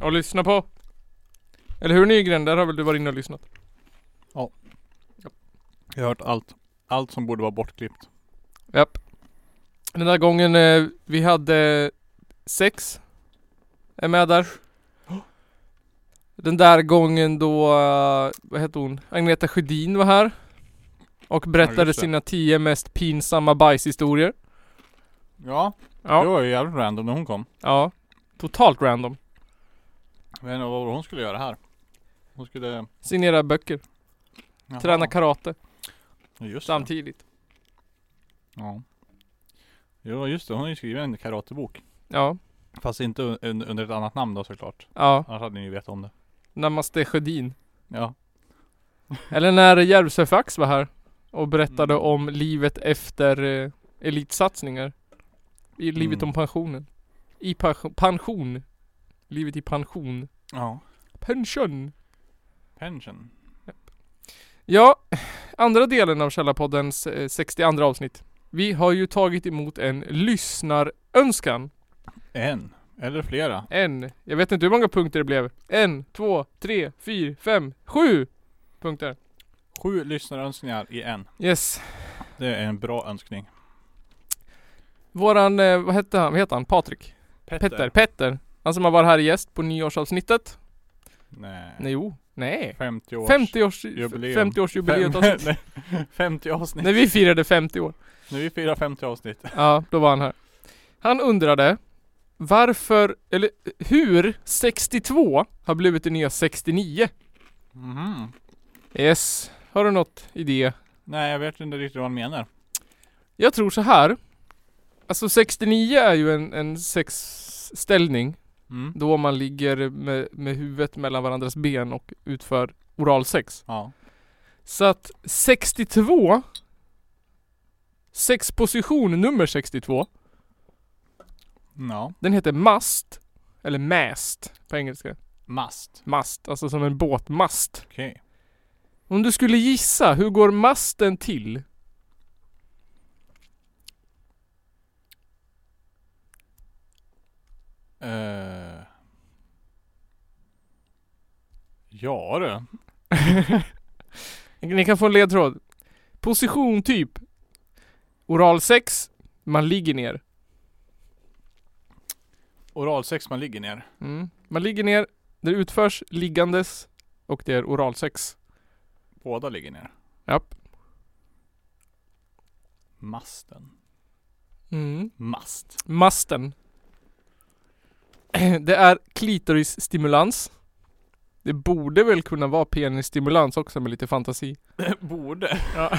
Speaker 3: Att lyssna på. Eller hur Nygren? Där har väl du varit inne och lyssnat?
Speaker 2: Jag har hört allt. Allt som borde vara bortklippt.
Speaker 3: Japp. Den där gången eh, vi hade sex. Är med där. Den där gången då, eh, vad hette hon? Agneta Sjödin var här. Och berättade
Speaker 2: just det.
Speaker 3: sina tio mest pinsamma bajshistorier.
Speaker 2: Ja, det
Speaker 3: Ja.
Speaker 2: var ju jävligt random när hon kom.
Speaker 3: Ja. Totalt random.
Speaker 2: Jag vet inte vad hon skulle göra här. Hon skulle...
Speaker 3: Signera böcker.
Speaker 2: Jaha.
Speaker 3: Träna karate.
Speaker 2: Just det.
Speaker 3: Samtidigt.
Speaker 2: Ja. Jo just det, hon har ju skrivit en karatebok.
Speaker 3: Ja.
Speaker 2: Fast inte un- un- under ett annat namn då såklart.
Speaker 3: Ja.
Speaker 2: Annars hade ni ju vetat om det.
Speaker 3: Namaste Sjödin.
Speaker 2: Ja.
Speaker 3: Eller när Järvsöfax var här. Och berättade
Speaker 2: Mm.
Speaker 3: om livet efter eh, elitsatsningar. I livet
Speaker 2: Mm.
Speaker 3: om pensionen. I pension. pension. Livet i pension.
Speaker 2: Ja.
Speaker 3: Pension.
Speaker 2: Pension.
Speaker 3: Ja, andra delen av Källarpoddens eh, 62 avsnitt. Vi har ju tagit emot en lyssnarönskan.
Speaker 2: En. Eller flera.
Speaker 3: En. Jag vet inte hur många punkter det blev. En, två, tre, fyra, fem, sju punkter.
Speaker 2: Sju lyssnarönskningar i en.
Speaker 3: Yes.
Speaker 2: Det är en bra önskning.
Speaker 3: Våran, eh, vad hette han? Vad heter han? Patrik? Petter. Petter. Han som har varit här i gäst på nyårsavsnittet.
Speaker 2: Nej.
Speaker 3: Nej, jo. Nej.
Speaker 2: 50 års...
Speaker 3: 50 års,
Speaker 2: Jubileum.
Speaker 3: 50 års jubileet
Speaker 2: Fem- nej, 50 avsnitt.
Speaker 3: När vi firade 50 år.
Speaker 2: Nu är vi fyra 50 avsnitt.
Speaker 3: Ja, då var han här. Han undrade varför, eller hur 62 har blivit det nya 69?
Speaker 2: Mhm.
Speaker 3: Yes. Har du något idé?
Speaker 2: Nej jag vet inte riktigt vad han menar.
Speaker 3: Jag tror så här. Alltså 69 är ju en, en sexställning
Speaker 2: Mm.
Speaker 3: då man ligger med, med huvudet mellan varandras ben och utför oralsex.
Speaker 2: Ja.
Speaker 3: Så att 62 Sexposition nummer 62
Speaker 2: Ja.
Speaker 3: Den heter mast Eller mast på engelska
Speaker 2: Must.
Speaker 3: Mast, alltså som en båtmast
Speaker 2: Okej.
Speaker 3: Om du skulle gissa, hur går masten till?
Speaker 2: Eh. Ja du.
Speaker 3: Ni kan få en ledtråd Position typ Oralsex Man ligger ner
Speaker 2: Oralsex man ligger ner.
Speaker 3: mm. Man ligger ner Det utförs liggandes Och det är oralsex
Speaker 2: Båda ligger ner.
Speaker 3: Japp
Speaker 2: Masten.
Speaker 3: mm.
Speaker 2: Mast.
Speaker 3: Masten. Det är klitorisstimulans. Det borde väl kunna vara penisstimulans också med lite fantasi.
Speaker 2: Borde.
Speaker 3: Ja.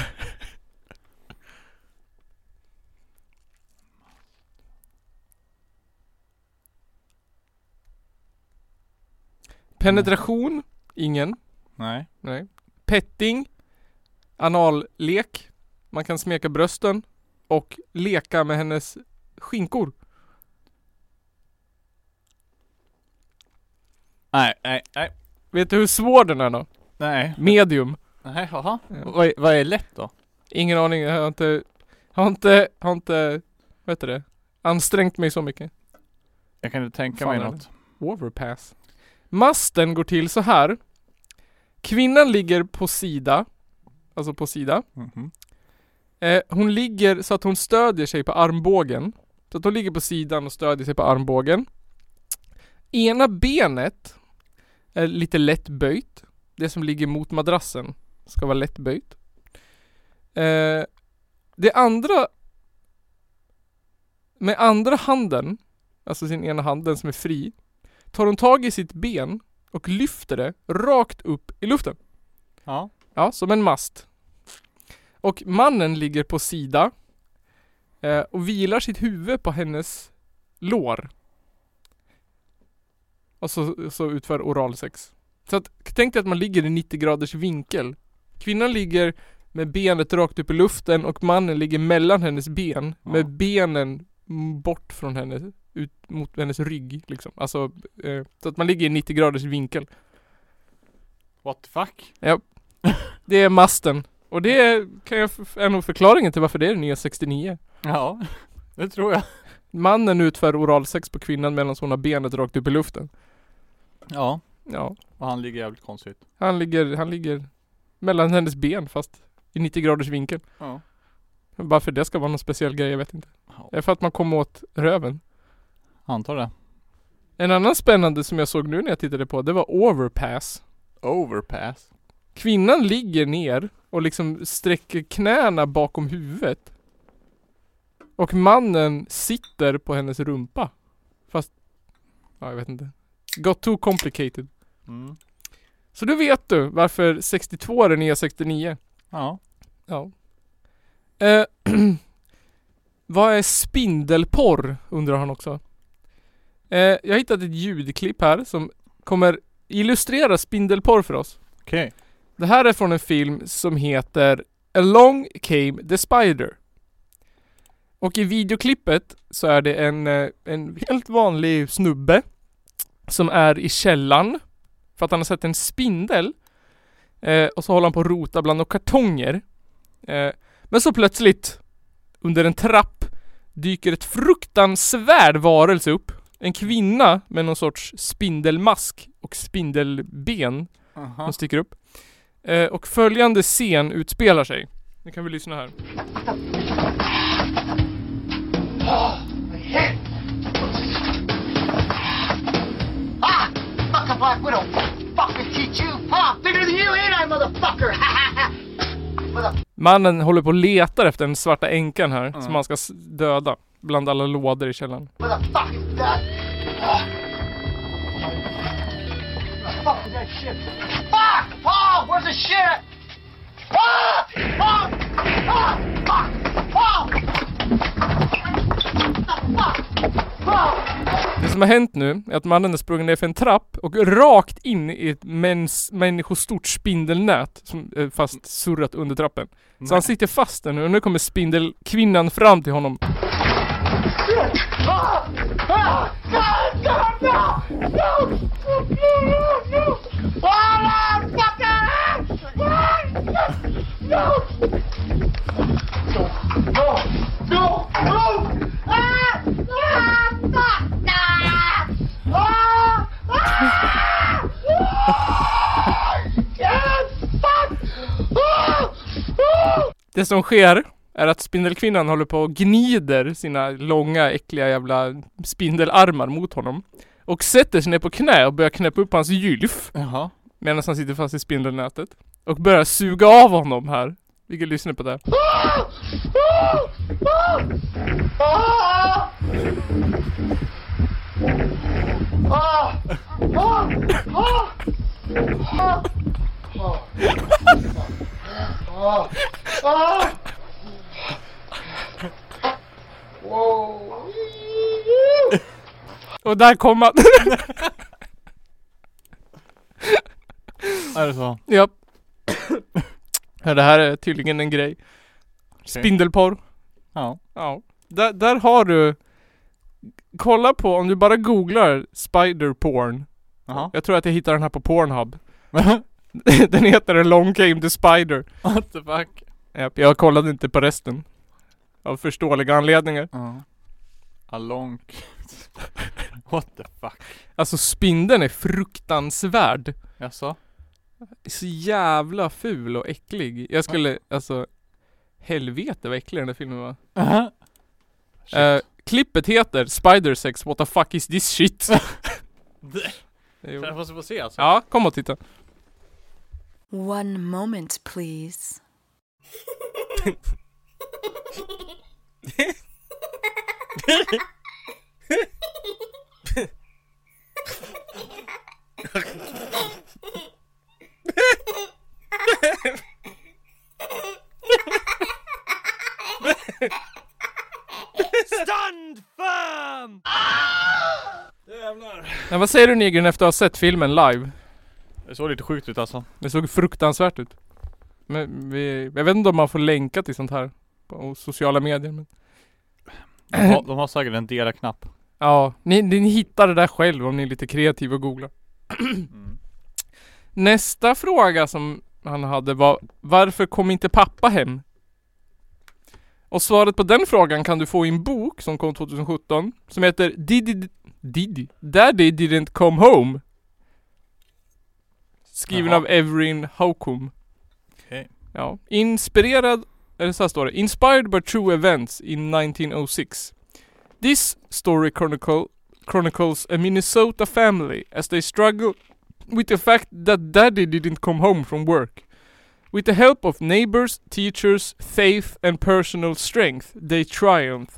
Speaker 3: Penetration? Ingen.
Speaker 2: Nej.
Speaker 3: Nej. Petting? Anallek? Man kan smeka brösten och leka med hennes skinkor.
Speaker 2: Nej, nej, nej.
Speaker 3: Vet du hur svår den är då?
Speaker 2: Nej.
Speaker 3: Medium.
Speaker 2: Nej, jaha.
Speaker 3: Ja.
Speaker 2: Eh, Vad, är- vad är lätt då?
Speaker 3: Ingen aning, jag har inte, har inte, har inte, vad heter det? Ansträngt mig så mycket.
Speaker 2: Jag kan inte tänka
Speaker 3: Fan,
Speaker 2: mig
Speaker 3: eller?
Speaker 2: något.
Speaker 3: Overpass. Masten går till så här. Kvinnan ligger på sida, alltså på sida.
Speaker 2: Mhm.
Speaker 3: Eh, hon ligger så att hon stödjer sig på armbågen. Så att hon ligger på sidan och stödjer sig på armbågen. Ena benet är lite lätt böjt. Det som ligger mot madrassen ska vara lätt böjt. Eh, det andra med andra handen, alltså sin ena hand, den som är fri, tar hon tag i sitt ben och lyfter det rakt upp i luften.
Speaker 2: Ja.
Speaker 3: Ja, som en mast. Och mannen ligger på sida eh, och vilar sitt huvud på hennes lår. Och så, så utför oralsex. Så att, tänk dig att man ligger i 90 graders vinkel. Kvinnan ligger med benet rakt upp i luften och mannen ligger mellan hennes ben
Speaker 2: Ja.
Speaker 3: med benen mm, bort från henne, ut mot hennes rygg liksom. Alltså, eh, så att man ligger i 90 graders vinkel.
Speaker 2: What the fuck?
Speaker 3: Det är masten. Och Och det kan jag f- är nog förklaringen till varför det är det nya 69.
Speaker 2: Ja, det tror jag.
Speaker 3: Mannen utför oralsex på kvinnan medan hon har benet rakt upp i luften.
Speaker 2: Ja,
Speaker 3: Ja,
Speaker 2: och han ligger jävligt konstigt.
Speaker 3: han ligger, han ligger mellan hennes ben fast i 90 graders vinkel.
Speaker 2: Ja.
Speaker 3: Varför det ska vara någon speciell grej, jag vet inte.
Speaker 2: Ja.
Speaker 3: Det är för att man kommer åt röven.
Speaker 2: Antar det.
Speaker 3: En annan spännande som jag såg nu när jag tittade på, det var overpass.
Speaker 2: Overpass.
Speaker 3: Kvinnan ligger ner och liksom sträcker knäna bakom huvudet. Och mannen sitter på hennes rumpa. Fast, ja jag vet inte. Got too complicated.
Speaker 2: Mm.
Speaker 3: Så du vet du varför 62 är den nya 69.
Speaker 2: Ja.
Speaker 3: Ja. Eh, vad är spindelporr? Undrar han också. Eh, jag har hittat ett ljudklipp här som kommer illustrera spindelporr för oss.
Speaker 2: Okej.
Speaker 3: Det här är från en film som heter Along Came the Spider. Och i videoklippet så är det en, eh, en helt vanlig snubbe som är i källan för att han har sett en spindel eh, och så håller han på att rota bland några kartonger. Eh, men så plötsligt under en trapp dyker ett fruktansvärd varelse upp. En kvinna med någon sorts spindelmask och spindelben
Speaker 2: Aha.
Speaker 3: som sticker upp. Eh, och följande scen utspelar sig. Nu kan vi lyssna här.
Speaker 4: Ah! Fuck a Black Widow! Fucker teach you! Ha! Bigger than you ain't I, motherfucker! Ha ha ha! Motherfucker!
Speaker 3: Mannen håller på och letar efter den svarta änkan här som han ska s- döda. Bland alla lådor i källaren.
Speaker 4: Motherfucking that! Ah. Fuck that shit! Fuck! Paul! Where's the shit? at? Ah! Ah! Ah! Fuck! Paul! The fuck? Paul!
Speaker 3: Det som har hänt nu är att mannen är sprungit ner för en trapp och rakt in i ett mäns- människostort spindelnät som är fast surrat under trappen. Så han sitter fast där nu och nu kommer spindelkvinnan fram till honom.
Speaker 4: Ah! Ah! God, God, no! No! No, no, no! Ah, no, fucking ah! No! No! No! No! Ah! Ah! Fuck! Ah! Ah! Ah! Ah! Yes! Fuck! Ah! Ah!
Speaker 3: Det som sker är att spindelkvinnan håller på och gnider sina långa äckliga jävla spindelarmar mot honom. Och sätter sig ner på knä och börjar knäppa upp hans gylf
Speaker 2: Jaha.
Speaker 3: medan han sitter fast i spindelnätet. Och börjar suga av honom här. Vi kan lyssna på det.
Speaker 4: Ah! Ah! Ah! Ah! Ah! Ah! Ah! Ah! Ah! Ah! Whoa!
Speaker 3: Och där kom han.
Speaker 2: Är det så?
Speaker 3: ja. ja. Det här är tydligen en grej. Spindelporr.
Speaker 2: Ja.
Speaker 3: Ja. Där, där har du Kolla på, om du bara googlar spider porn
Speaker 2: Jaha.
Speaker 3: Jag tror att jag hittar den här på Pornhub. den heter A Long Game The Spider.
Speaker 2: What the fuck?
Speaker 3: Japp, Jag kollade inte på resten. Av förståeliga anledningar.
Speaker 2: Ja. Alonk. What the fuck?
Speaker 3: Alltså spindeln är fruktansvärd.
Speaker 2: Jaså?
Speaker 3: Så jävla ful och äcklig. Jag skulle, alltså Helvete vad äcklig den där filmen var.
Speaker 2: Shit.
Speaker 3: Eh, klippet heter Spider Sex What the fuck is this shit? Jo.
Speaker 2: Jag måste få se alltså.
Speaker 3: ja, kom och titta.
Speaker 5: One moment, please. Men vad säger du Nygren efter att ha sett filmen live?
Speaker 2: Det såg lite sjukt ut alltså.
Speaker 3: Det såg fruktansvärt ut. Men vi, jag vet inte om man får länka till sånt här på sociala medier men
Speaker 2: De har, de har säkert en dela-knapp.
Speaker 3: Ja, ni, ni hittar det där själv om ni är lite kreativa och googlar. Nästa fråga som han hade var Varför kom inte pappa hem? Och svaret på den frågan kan du få i en bok som kom 2017 Som heter Diddy Diddy Daddy didn't come home Skriven
Speaker 2: Jaha.
Speaker 3: av Evrin Haukum
Speaker 2: Okej.
Speaker 3: Ja, inspirerad eller så här står det. Inspired by true events in 1906. This story chronicle chronicles a Minnesota family as they struggle with the fact that daddy didn't come home from work. With the help of neighbors, teachers, faith and personal strength, they triumph.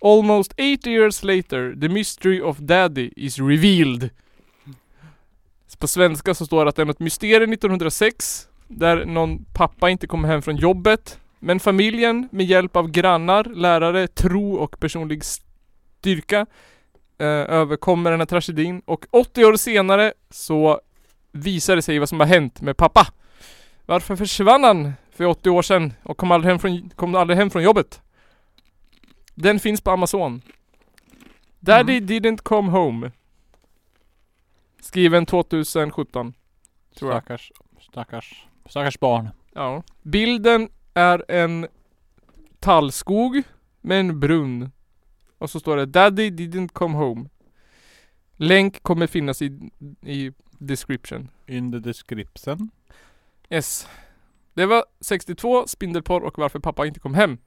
Speaker 3: Almost eight years later, the mystery of daddy is revealed. På svenska så står det att det är något mysterium 1906 där någon pappa inte kommer hem från jobbet. Men familjen med hjälp av grannar, lärare, tro och personlig styrka eh, överkommer den här tragedin. Och 80 år senare så visar det sig vad som har hänt med pappa. Varför försvann han för 80 år sedan och kom aldrig hem från, kom aldrig hem från jobbet? Den finns på Amazon. Daddy didn't come home. Skriven 2017. Tror jag.
Speaker 2: Stackars, stackars, stackars barn.
Speaker 3: Ja. Bilden är en tallskog med en brunn. Och så står det Daddy didn't come home. Länk kommer finnas i, i description.
Speaker 2: In the description.
Speaker 3: Yes. Det var 62, spindelporr och varför pappa inte kom hem.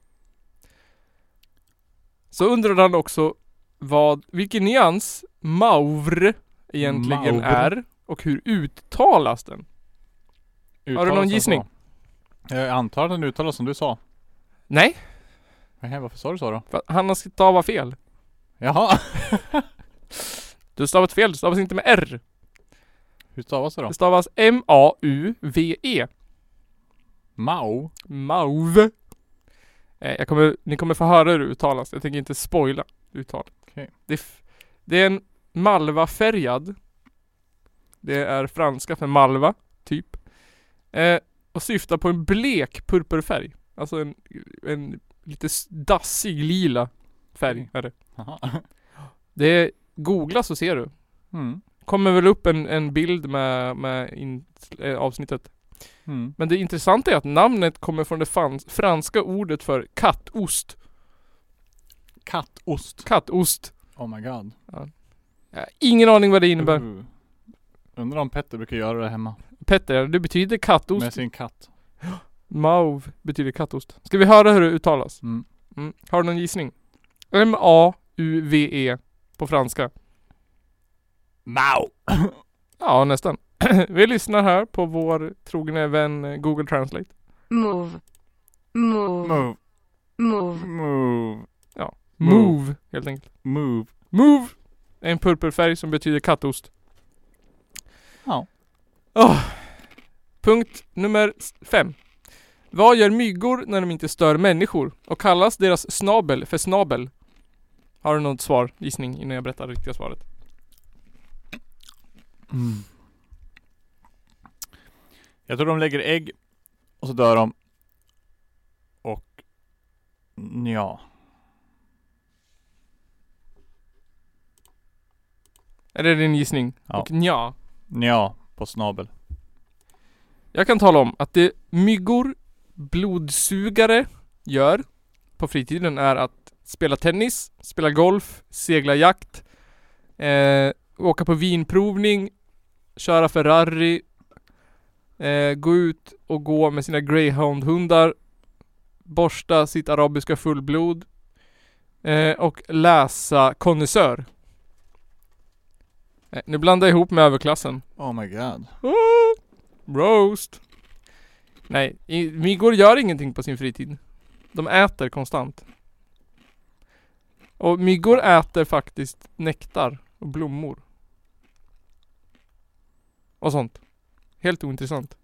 Speaker 3: Så undrade han också vad, vilken nyans mauvre egentligen
Speaker 2: Mauvre.
Speaker 3: är och hur uttalas den?
Speaker 2: Uttalas
Speaker 3: någon
Speaker 2: den
Speaker 3: gissning?
Speaker 2: så? Jag antar att den uttalas som du sa.
Speaker 3: Nej,
Speaker 2: Nej, varför sa du så då?
Speaker 3: för att han har stavat fel.
Speaker 2: Jaha!
Speaker 3: Du har stavat fel, det stavas inte med R.
Speaker 2: Hur stavas det då?
Speaker 3: Det stavas M-A-U-V-E.
Speaker 2: Mau?
Speaker 3: E. Mauv. Eh, jag kommer, ni kommer få höra hur det uttalas. Jag tänker inte spoila uttalet.
Speaker 2: Okej.
Speaker 3: Det, f- det är en malvafärgad. Det är franska för malva, typ. Eh, och syftar på en blek purpurfärg. Alltså en, en lite s- dassig lila färg
Speaker 2: Okej.
Speaker 3: är det.
Speaker 2: Jaha.
Speaker 3: Det är, googla så ser du.
Speaker 2: Mm.
Speaker 3: Kommer väl upp en, en bild med, med in, eh, avsnittet.
Speaker 2: Mm.
Speaker 3: Men det intressanta är att namnet kommer från det fans- franska ordet för kattost.
Speaker 2: Kattost.
Speaker 3: Kattost.
Speaker 2: Oh my god.
Speaker 3: Jag har ingen aning vad det innebär.
Speaker 2: Uh. Undrar om Petter brukar göra det hemma.
Speaker 3: Petter, det betyder kattost.
Speaker 2: Med sin katt.
Speaker 3: Mauve betyder kattost. Ska vi höra hur det uttalas?
Speaker 2: Mm.
Speaker 3: Mm. Har du någon gissning? M-A-U-V-E E på franska.
Speaker 2: Mau!
Speaker 3: Ja, nästan. vi lyssnar här på vår trogne vän eh, Google Translate.
Speaker 6: Move. Move.
Speaker 2: Move.
Speaker 6: Move.
Speaker 2: Move.
Speaker 3: Move,
Speaker 2: Move.
Speaker 3: helt enkelt.
Speaker 2: Move.
Speaker 3: Move! En purpurfärg som betyder kattost.
Speaker 2: Ja.
Speaker 3: Åh. Punkt nummer s- fem. Vad gör myggor när de inte stör människor? Och kallas deras snabel för snabel? Har du något svar? Gissning innan jag berättar det riktiga svaret.
Speaker 2: Mm. Jag tror de lägger ägg och så dör de. Och ja.
Speaker 3: Är det din gissning?
Speaker 2: Ja.
Speaker 3: Och nja.
Speaker 2: Ja, på snabel.
Speaker 3: Jag kan tala om att det myggor, blodsugare, gör på fritiden är att spela tennis, spela golf, segla jakt, eh, åka på vinprovning, köra Ferrari, eh, gå ut och gå med sina greyhoundhundar, borsta sitt arabiska fullblod eh, och läsa konnässör. Eh, nu blandar jag ihop med överklassen.
Speaker 2: Oh my god.
Speaker 3: Ah, Roast. Nej, i- myggor gör ingenting på sin fritid. De äter konstant. Och myggor äter faktiskt nektar och blommor. Och sånt. Helt ointressant.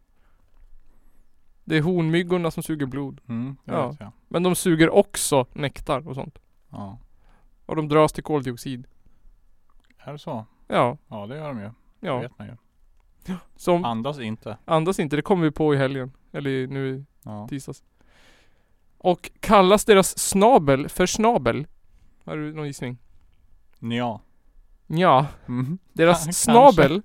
Speaker 3: Det är honmyggorna som suger blod.
Speaker 2: Mm, det
Speaker 3: Ja.
Speaker 2: vet jag.
Speaker 3: Men de suger också nektar och sånt.
Speaker 2: Ja.
Speaker 3: Och de dras till koldioxid.
Speaker 2: Är det så?
Speaker 3: Ja,
Speaker 2: Ja, det gör de ju. Det
Speaker 3: ja.
Speaker 2: vet man ju.
Speaker 3: Som
Speaker 2: Andas inte.
Speaker 3: andas inte. Det kommer vi på i helgen. Eller nu i
Speaker 2: Ja.
Speaker 3: tisdags. Och kallas deras snabel för snabel? Har du någon gissning?
Speaker 2: Ja.
Speaker 3: Ja,
Speaker 2: Mm.
Speaker 3: deras
Speaker 2: Kanske.
Speaker 3: snabel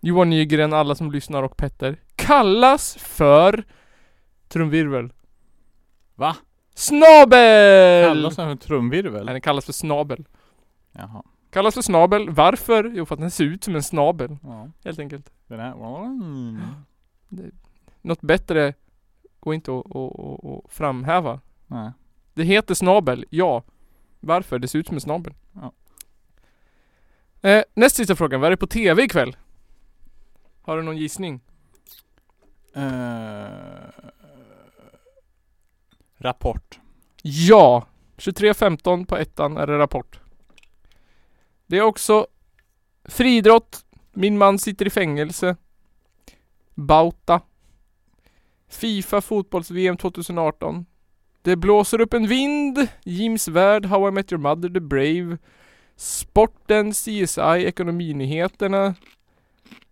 Speaker 3: Johan Nygren, alla som lyssnar och Petter kallas för trumvirvel.
Speaker 2: Va?
Speaker 3: Snabel!
Speaker 2: Kallas den för trumvirvel?
Speaker 3: Nej, den kallas för snabel.
Speaker 2: Jaha.
Speaker 3: Kallas för snabel. Varför? Jo, för att den ser ut som en snabel.
Speaker 2: Ja.
Speaker 3: Helt enkelt.
Speaker 2: Den här... Mm.
Speaker 3: Något bättre går inte att, att, att, att framhäva.
Speaker 2: Nej.
Speaker 3: Det heter snabel, ja. Varför? Det ser ut som en snabel.
Speaker 2: Ja.
Speaker 3: Eh, näst sista frågan. Vad är det på TV ikväll? Har du någon gissning?
Speaker 2: Eh, rapport.
Speaker 3: Ja! 23.15 på ettan är det Rapport. Det är också Friidrott. Min man sitter i fängelse. Bauta. Fifa fotbolls-VM 2018. Det blåser upp en vind. Jims värld. How I Met Your Mother. The Brave. Sporten. CSI. Ekonominyheterna.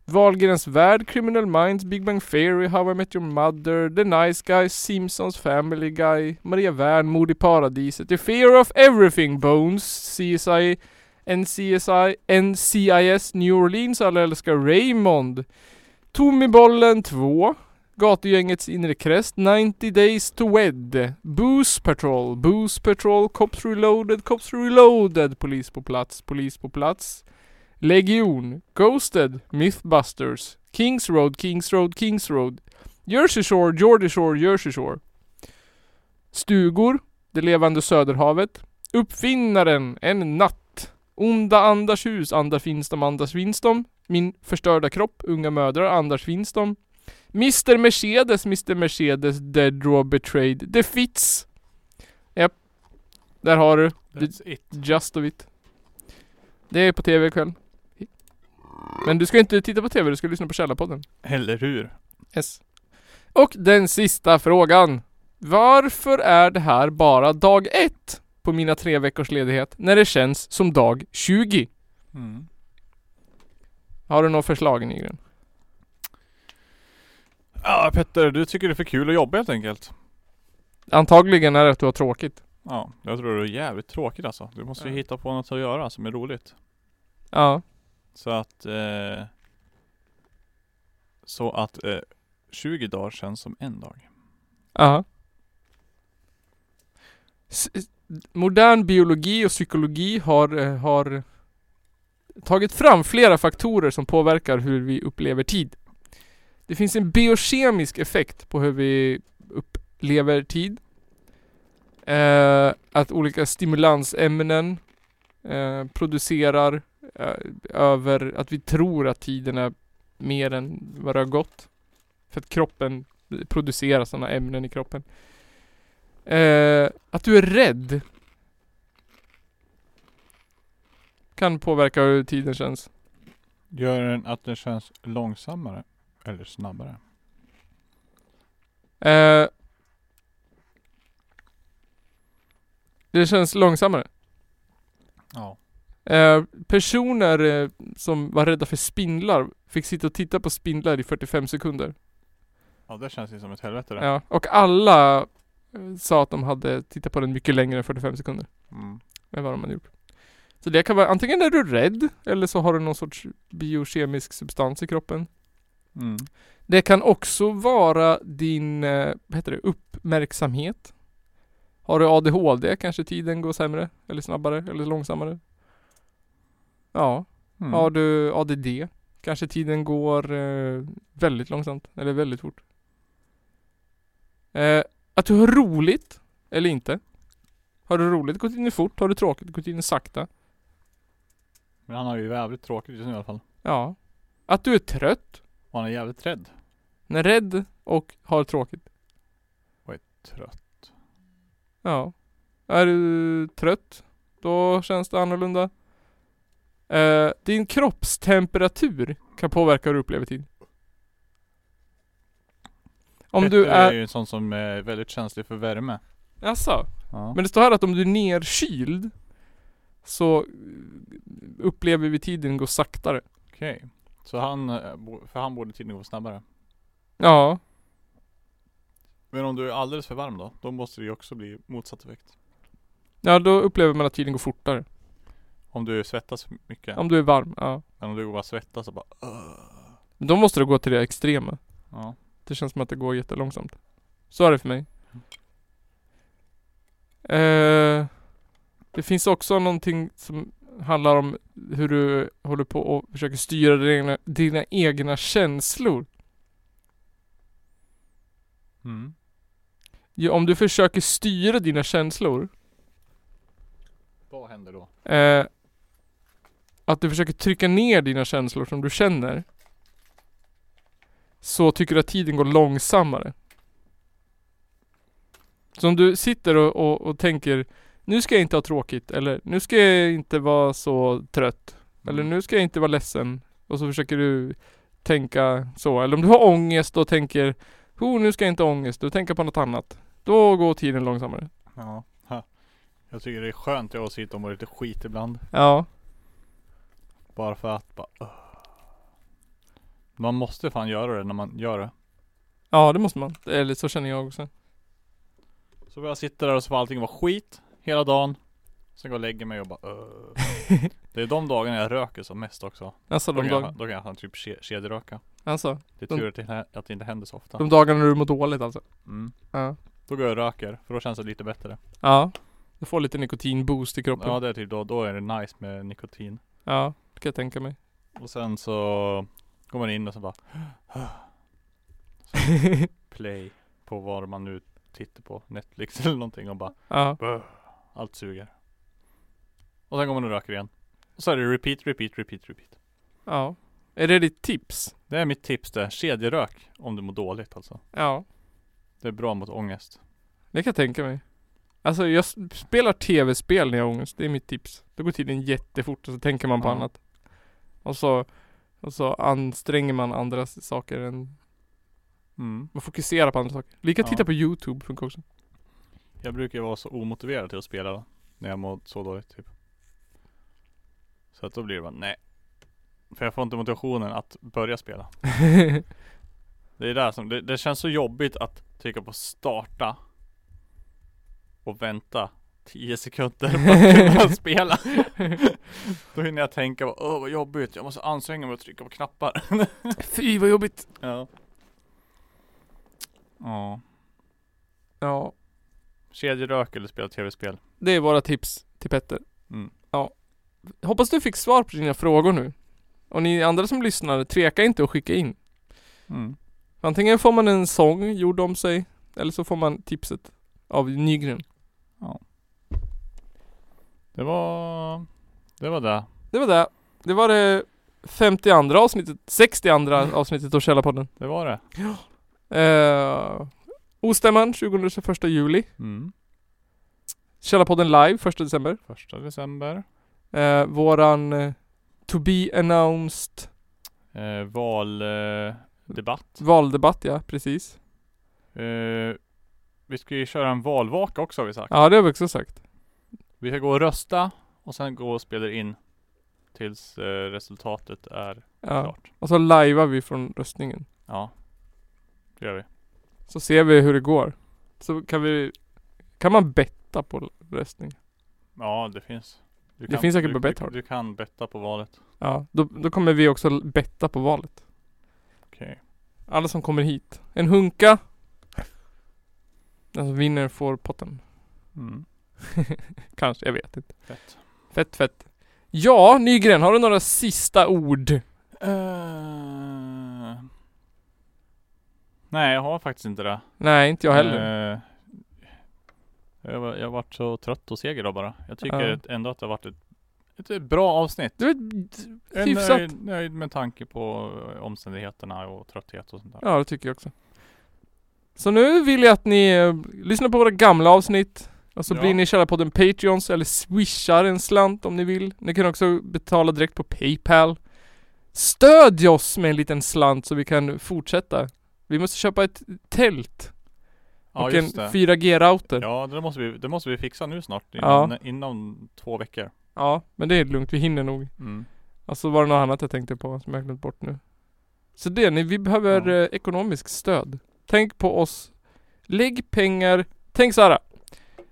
Speaker 3: Wahlgrens värld, Criminal Minds, Big Bang Theory, How I Met Your Mother, The Nice Guys, Simpsons, Family Guy, Maria Wern, Mord i Paradiset, The Fear of Everything, Bones, CSI, NCSI, NCIS, New Orleans, Alla älskar Raymond, Tommybollen 2, Gatugängets inre krest, 90 Days to Wed, Booze Patrol, Booze Patrol, Cops Reloaded, Cops Reloaded, Polis på plats, Polis på plats, Legion, Ghosted, Mythbusters, Kings Road, Kings Road, Kings Road, Jersey Shore, Jersey Shore, Jersey Shore. Stugor, Det levande Söderhavet, Uppfinnaren, En natt, Onda andars hus, Andars finns de, Andars finns de, Min förstörda kropp, Unga mödrar, Andars finns de, Mr Mercedes, Mr Mercedes, Dead Raw Betrayed, The Fits. Japp. Där har du.
Speaker 2: That's it.
Speaker 3: Just of it. Det är på tv ikväll. Men du ska inte titta på tv, du ska lyssna på Källarpodden.
Speaker 2: Eller hur?
Speaker 3: Yes. Och den sista frågan. Varför är det här bara dag ett på mina tre veckors ledighet när det känns som dag 20?
Speaker 2: Mm.
Speaker 3: Har du något förslag Nygren?
Speaker 2: Ja Petter, du tycker det är för kul att jobba helt enkelt.
Speaker 3: Antagligen är det att du har tråkigt.
Speaker 2: Ja, jag tror det är jävligt tråkigt alltså. Du måste ju
Speaker 3: Ja.
Speaker 2: hitta på något att göra som är roligt.
Speaker 3: Ja.
Speaker 2: Så att... Eh, så att eh, 20 dagar känns som en dag.
Speaker 3: Ja. S- s- modern biologi och psykologi har, eh, har tagit fram flera faktorer som påverkar hur vi upplever tid. Det finns en biokemisk effekt på hur vi upplever tid. Eh, att olika stimulansämnen eh, producerar eh, över att vi tror att tiden är mer än vad det har gått. För att kroppen producera sådana ämnen i kroppen. Eh, att du är rädd kan påverka hur tiden känns.
Speaker 2: Gör den att det känns långsammare? Eller snabbare?
Speaker 3: Eh, det känns långsammare.
Speaker 2: Ja.
Speaker 3: Eh, personer eh, som var rädda för spindlar fick sitta och titta på spindlar i 45 sekunder.
Speaker 2: Ja det känns ju som ett helvete det.
Speaker 3: Ja. Och alla eh, sa att de hade tittat på den mycket längre än 45 sekunder.
Speaker 2: Mm.
Speaker 3: med vad de hade gjort. Så det kan vara antingen är du rädd eller så har du någon sorts biokemisk substans i kroppen.
Speaker 2: Mm.
Speaker 3: Det kan också vara din, eh, vad heter det, uppmärksamhet. Har du ADHD kanske tiden går sämre eller snabbare eller långsammare. Ja,
Speaker 2: Mm.
Speaker 3: har du ADD kanske tiden går eh, väldigt långsamt eller väldigt fort. Eh, att du har roligt eller inte. Har du roligt går tiden fort, har du tråkigt går tiden sakta.
Speaker 2: Men han har ju jävligt tråkigt just nu i alla fall.
Speaker 3: Ja. Att du är trött,
Speaker 2: Och han är jävligt rädd.
Speaker 3: när rädd och har tråkigt.
Speaker 2: Trött.
Speaker 3: Ja. Är du trött, då känns det annorlunda. Eh, din kroppstemperatur kan påverka hur du upplever tid. Om
Speaker 2: Petter
Speaker 3: du är...
Speaker 2: är ju en sån som är väldigt känslig för värme.
Speaker 3: Jaså?
Speaker 2: Ja.
Speaker 3: Men det står här att om du är nerkyld så eh, upplever vi tiden gå saktare.
Speaker 2: Okej. Så han, eh, bo- för han borde tydligen gå snabbare.
Speaker 3: Ja.
Speaker 2: Men om du är alldeles för varm då? Då måste det ju också bli motsatt effekt.
Speaker 3: Ja, då upplever man att tiden går fortare.
Speaker 2: Om du svettas mycket.
Speaker 3: Om du är varm, ja.
Speaker 2: Men om du bara svettas och bara
Speaker 3: Men Då måste du gå till det extrema.
Speaker 2: Ja.
Speaker 3: Det känns som att det går jättelångsamt. Så är det för mig. Eh, det finns också någonting som handlar om hur du håller på och försöker styra dina egna, dina egna känslor.
Speaker 2: Mm.
Speaker 3: Ja, om du försöker styra dina känslor
Speaker 2: Vad händer då?
Speaker 3: Eh, att du försöker trycka ner dina känslor som du känner. Så tycker du att tiden går långsammare. Så om du sitter och, och, och tänker Nu ska jag inte ha tråkigt eller nu ska jag inte vara så trött.
Speaker 2: Mm.
Speaker 3: Eller nu ska jag inte vara ledsen. Och så försöker du tänka så. Eller om du har ångest och tänker Oh, nu ska jag inte ha ångest. och tänker på något annat. Då går tiden långsammare.
Speaker 2: Ja. Ha. Jag tycker det är skönt att sitta och må lite skit ibland.
Speaker 3: Ja.
Speaker 2: Bara för att bara, öh. Man måste fan göra det när man gör det.
Speaker 3: Ja, det måste man. Eller så känner jag också.
Speaker 2: Så får jag sitta där och så får allting vara skit hela dagen. Sen går jag och lägger mig och bara öh. Det är de dagarna jag röker som mest också.
Speaker 3: Alltså
Speaker 2: Då
Speaker 3: de
Speaker 2: kan jag,
Speaker 3: dagarna.
Speaker 2: då kan jag fan typ ke- kedjeröka.
Speaker 3: Alltså.
Speaker 2: Det är
Speaker 3: De-
Speaker 2: tur att det, hä- att det inte händer så ofta.
Speaker 3: De dagarna när du mår dåligt alltså?
Speaker 2: Mm.
Speaker 3: Ja.
Speaker 2: Då går jag och röker, för då känns det lite bättre.
Speaker 3: Ja. Du får lite nikotinboost i kroppen.
Speaker 2: Ja
Speaker 3: Ja.
Speaker 2: det är typ då, då är det nice med nikotin.
Speaker 3: det kan jag tänka mig.
Speaker 2: Och sen så går man in och så bara play på vad man nu tittar på, Netflix eller någonting och bara
Speaker 3: ja.
Speaker 2: allt suger. Och sen går man och röker igen. Och så är det repeat, repeat, repeat, repeat.
Speaker 3: Ja. Är det ditt tips?
Speaker 2: Det är mitt tips där, kedjerök om du mår dåligt alltså.
Speaker 3: Ja.
Speaker 2: Det är bra mot ångest.
Speaker 3: Det kan jag tänka mig. Alltså jag s- spelar tv-spel när jag har ångest. Det är mitt tips. Då går tiden jättefort och så tänker man på
Speaker 2: Ja.
Speaker 3: annat. Och så, och så anstränger man andra s- saker än
Speaker 2: Mm.
Speaker 3: man fokuserar på andra saker. Lika
Speaker 2: Ja.
Speaker 3: titta på youtube funkar också.
Speaker 2: Jag brukar ju vara så omotiverad till att spela när jag mår så dåligt typ. Så att då blir det bara nej. För jag får inte motivationen att börja spela. Det är där som, det, det känns så jobbigt att trycka på starta och vänta 10 sekunder för att kunna spela. Då hinner jag tänka, bara, åh vad jobbigt, jag måste anstränga mig och trycka på knappar.
Speaker 3: Fy vad jobbigt.
Speaker 2: ja. Ja.
Speaker 3: Ja.
Speaker 2: Kedjerök eller spela tv-spel.
Speaker 3: Det är våra tips till Petter.
Speaker 2: Mm.
Speaker 3: Ja. Hoppas du fick svar på dina frågor nu. Och ni andra som lyssnar, tveka inte att skicka in.
Speaker 2: Mm.
Speaker 3: Antingen får man en sång gjord om sig, eller så får man tipset av Nygren.
Speaker 2: Det var, det var det.
Speaker 3: Det var det. Det var det 52 avsnittet, 62 avsnittet av Källarpodden.
Speaker 2: Det var det.
Speaker 3: Uh, Ostämman 20-21 juli.
Speaker 2: Mm.
Speaker 3: Källarpodden live 1 december.
Speaker 2: Första december.
Speaker 3: Eh, våran eh, to be announced
Speaker 2: Eh, Valdebatt. Eh, debatt.
Speaker 3: valdebatt, ja precis.
Speaker 2: eh, vi ska ju köra en valvaka också har vi sagt.
Speaker 3: Ja det har vi också sagt.
Speaker 2: Vi ska gå och rösta och sen gå och spela in tills eh, resultatet är
Speaker 3: Ja.
Speaker 2: klart.
Speaker 3: Och så lajvar vi från röstningen.
Speaker 2: Ja, det gör vi.
Speaker 3: Så ser vi hur det går. Så kan vi Kan man betta på röstning?
Speaker 2: Ja, det finns. Du
Speaker 3: Det finns säkert
Speaker 2: du,
Speaker 3: på
Speaker 2: du,
Speaker 3: Betthard.
Speaker 2: du kan betta på valet.
Speaker 3: Ja, då, då kommer vi också betta på valet.
Speaker 2: Okej.
Speaker 3: Alla som kommer hit. En hunka. Den som vinner får potten.
Speaker 2: Mm.
Speaker 3: Kanske, jag vet inte.
Speaker 2: Fett.
Speaker 3: Fett fett. Ja, Nygren, har du några sista ord?
Speaker 2: Eh, nej, jag har faktiskt inte det.
Speaker 3: Nej, inte jag heller.
Speaker 2: Eh, jag, var, jag varit så trött och seg idag bara. Jag tycker
Speaker 3: Ja.
Speaker 2: att ändå att det har varit ett, ett bra avsnitt.
Speaker 3: Det var ett-
Speaker 2: Jag är
Speaker 3: Hyfsat.
Speaker 2: nöjd, nöjd med tanke på eh, omständigheterna och trötthet och sånt där.
Speaker 3: Ja, det tycker jag också. Så nu vill jag att ni eh, lyssnar på våra gamla avsnitt. Och så
Speaker 2: Ja.
Speaker 3: blir ni Källarpodden Patreons eller swishar en slant om ni vill. Ni kan också betala direkt på Paypal. Stödj oss med en liten slant så vi kan fortsätta. Vi måste köpa ett tält
Speaker 2: Ja,
Speaker 3: och en
Speaker 2: just det.
Speaker 3: 4G-router. Ja.
Speaker 2: Ja, det måste, vi, det måste vi fixa nu snart.
Speaker 3: Ja.
Speaker 2: Inom, inom två veckor.
Speaker 3: men det är lugnt. Vi hinner nog.
Speaker 2: Mm.
Speaker 3: Och så var det något annat jag tänkte på som jag har glömt bort nu. Så det, ni, vi behöver
Speaker 2: Ja.
Speaker 3: eh, ekonomiskt stöd. Tänk på oss. Lägg pengar. Tänk så här.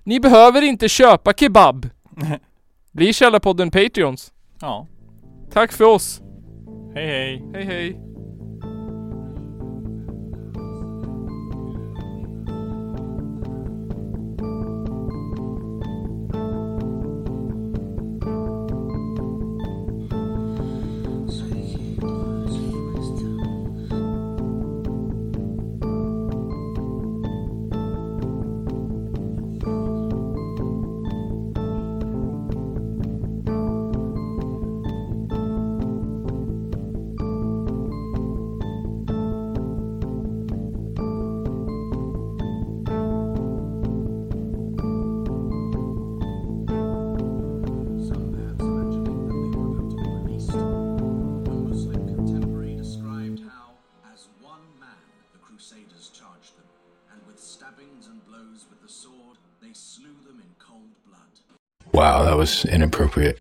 Speaker 3: Ni behöver inte köpa kebab. Bli Källarpodden Patreons.
Speaker 2: Ja.
Speaker 3: Tack för oss.
Speaker 2: Hej hej.
Speaker 3: Hej hej.
Speaker 7: stabbings and blows with the sword, they slew them in cold blood.
Speaker 8: Wow, that was inappropriate.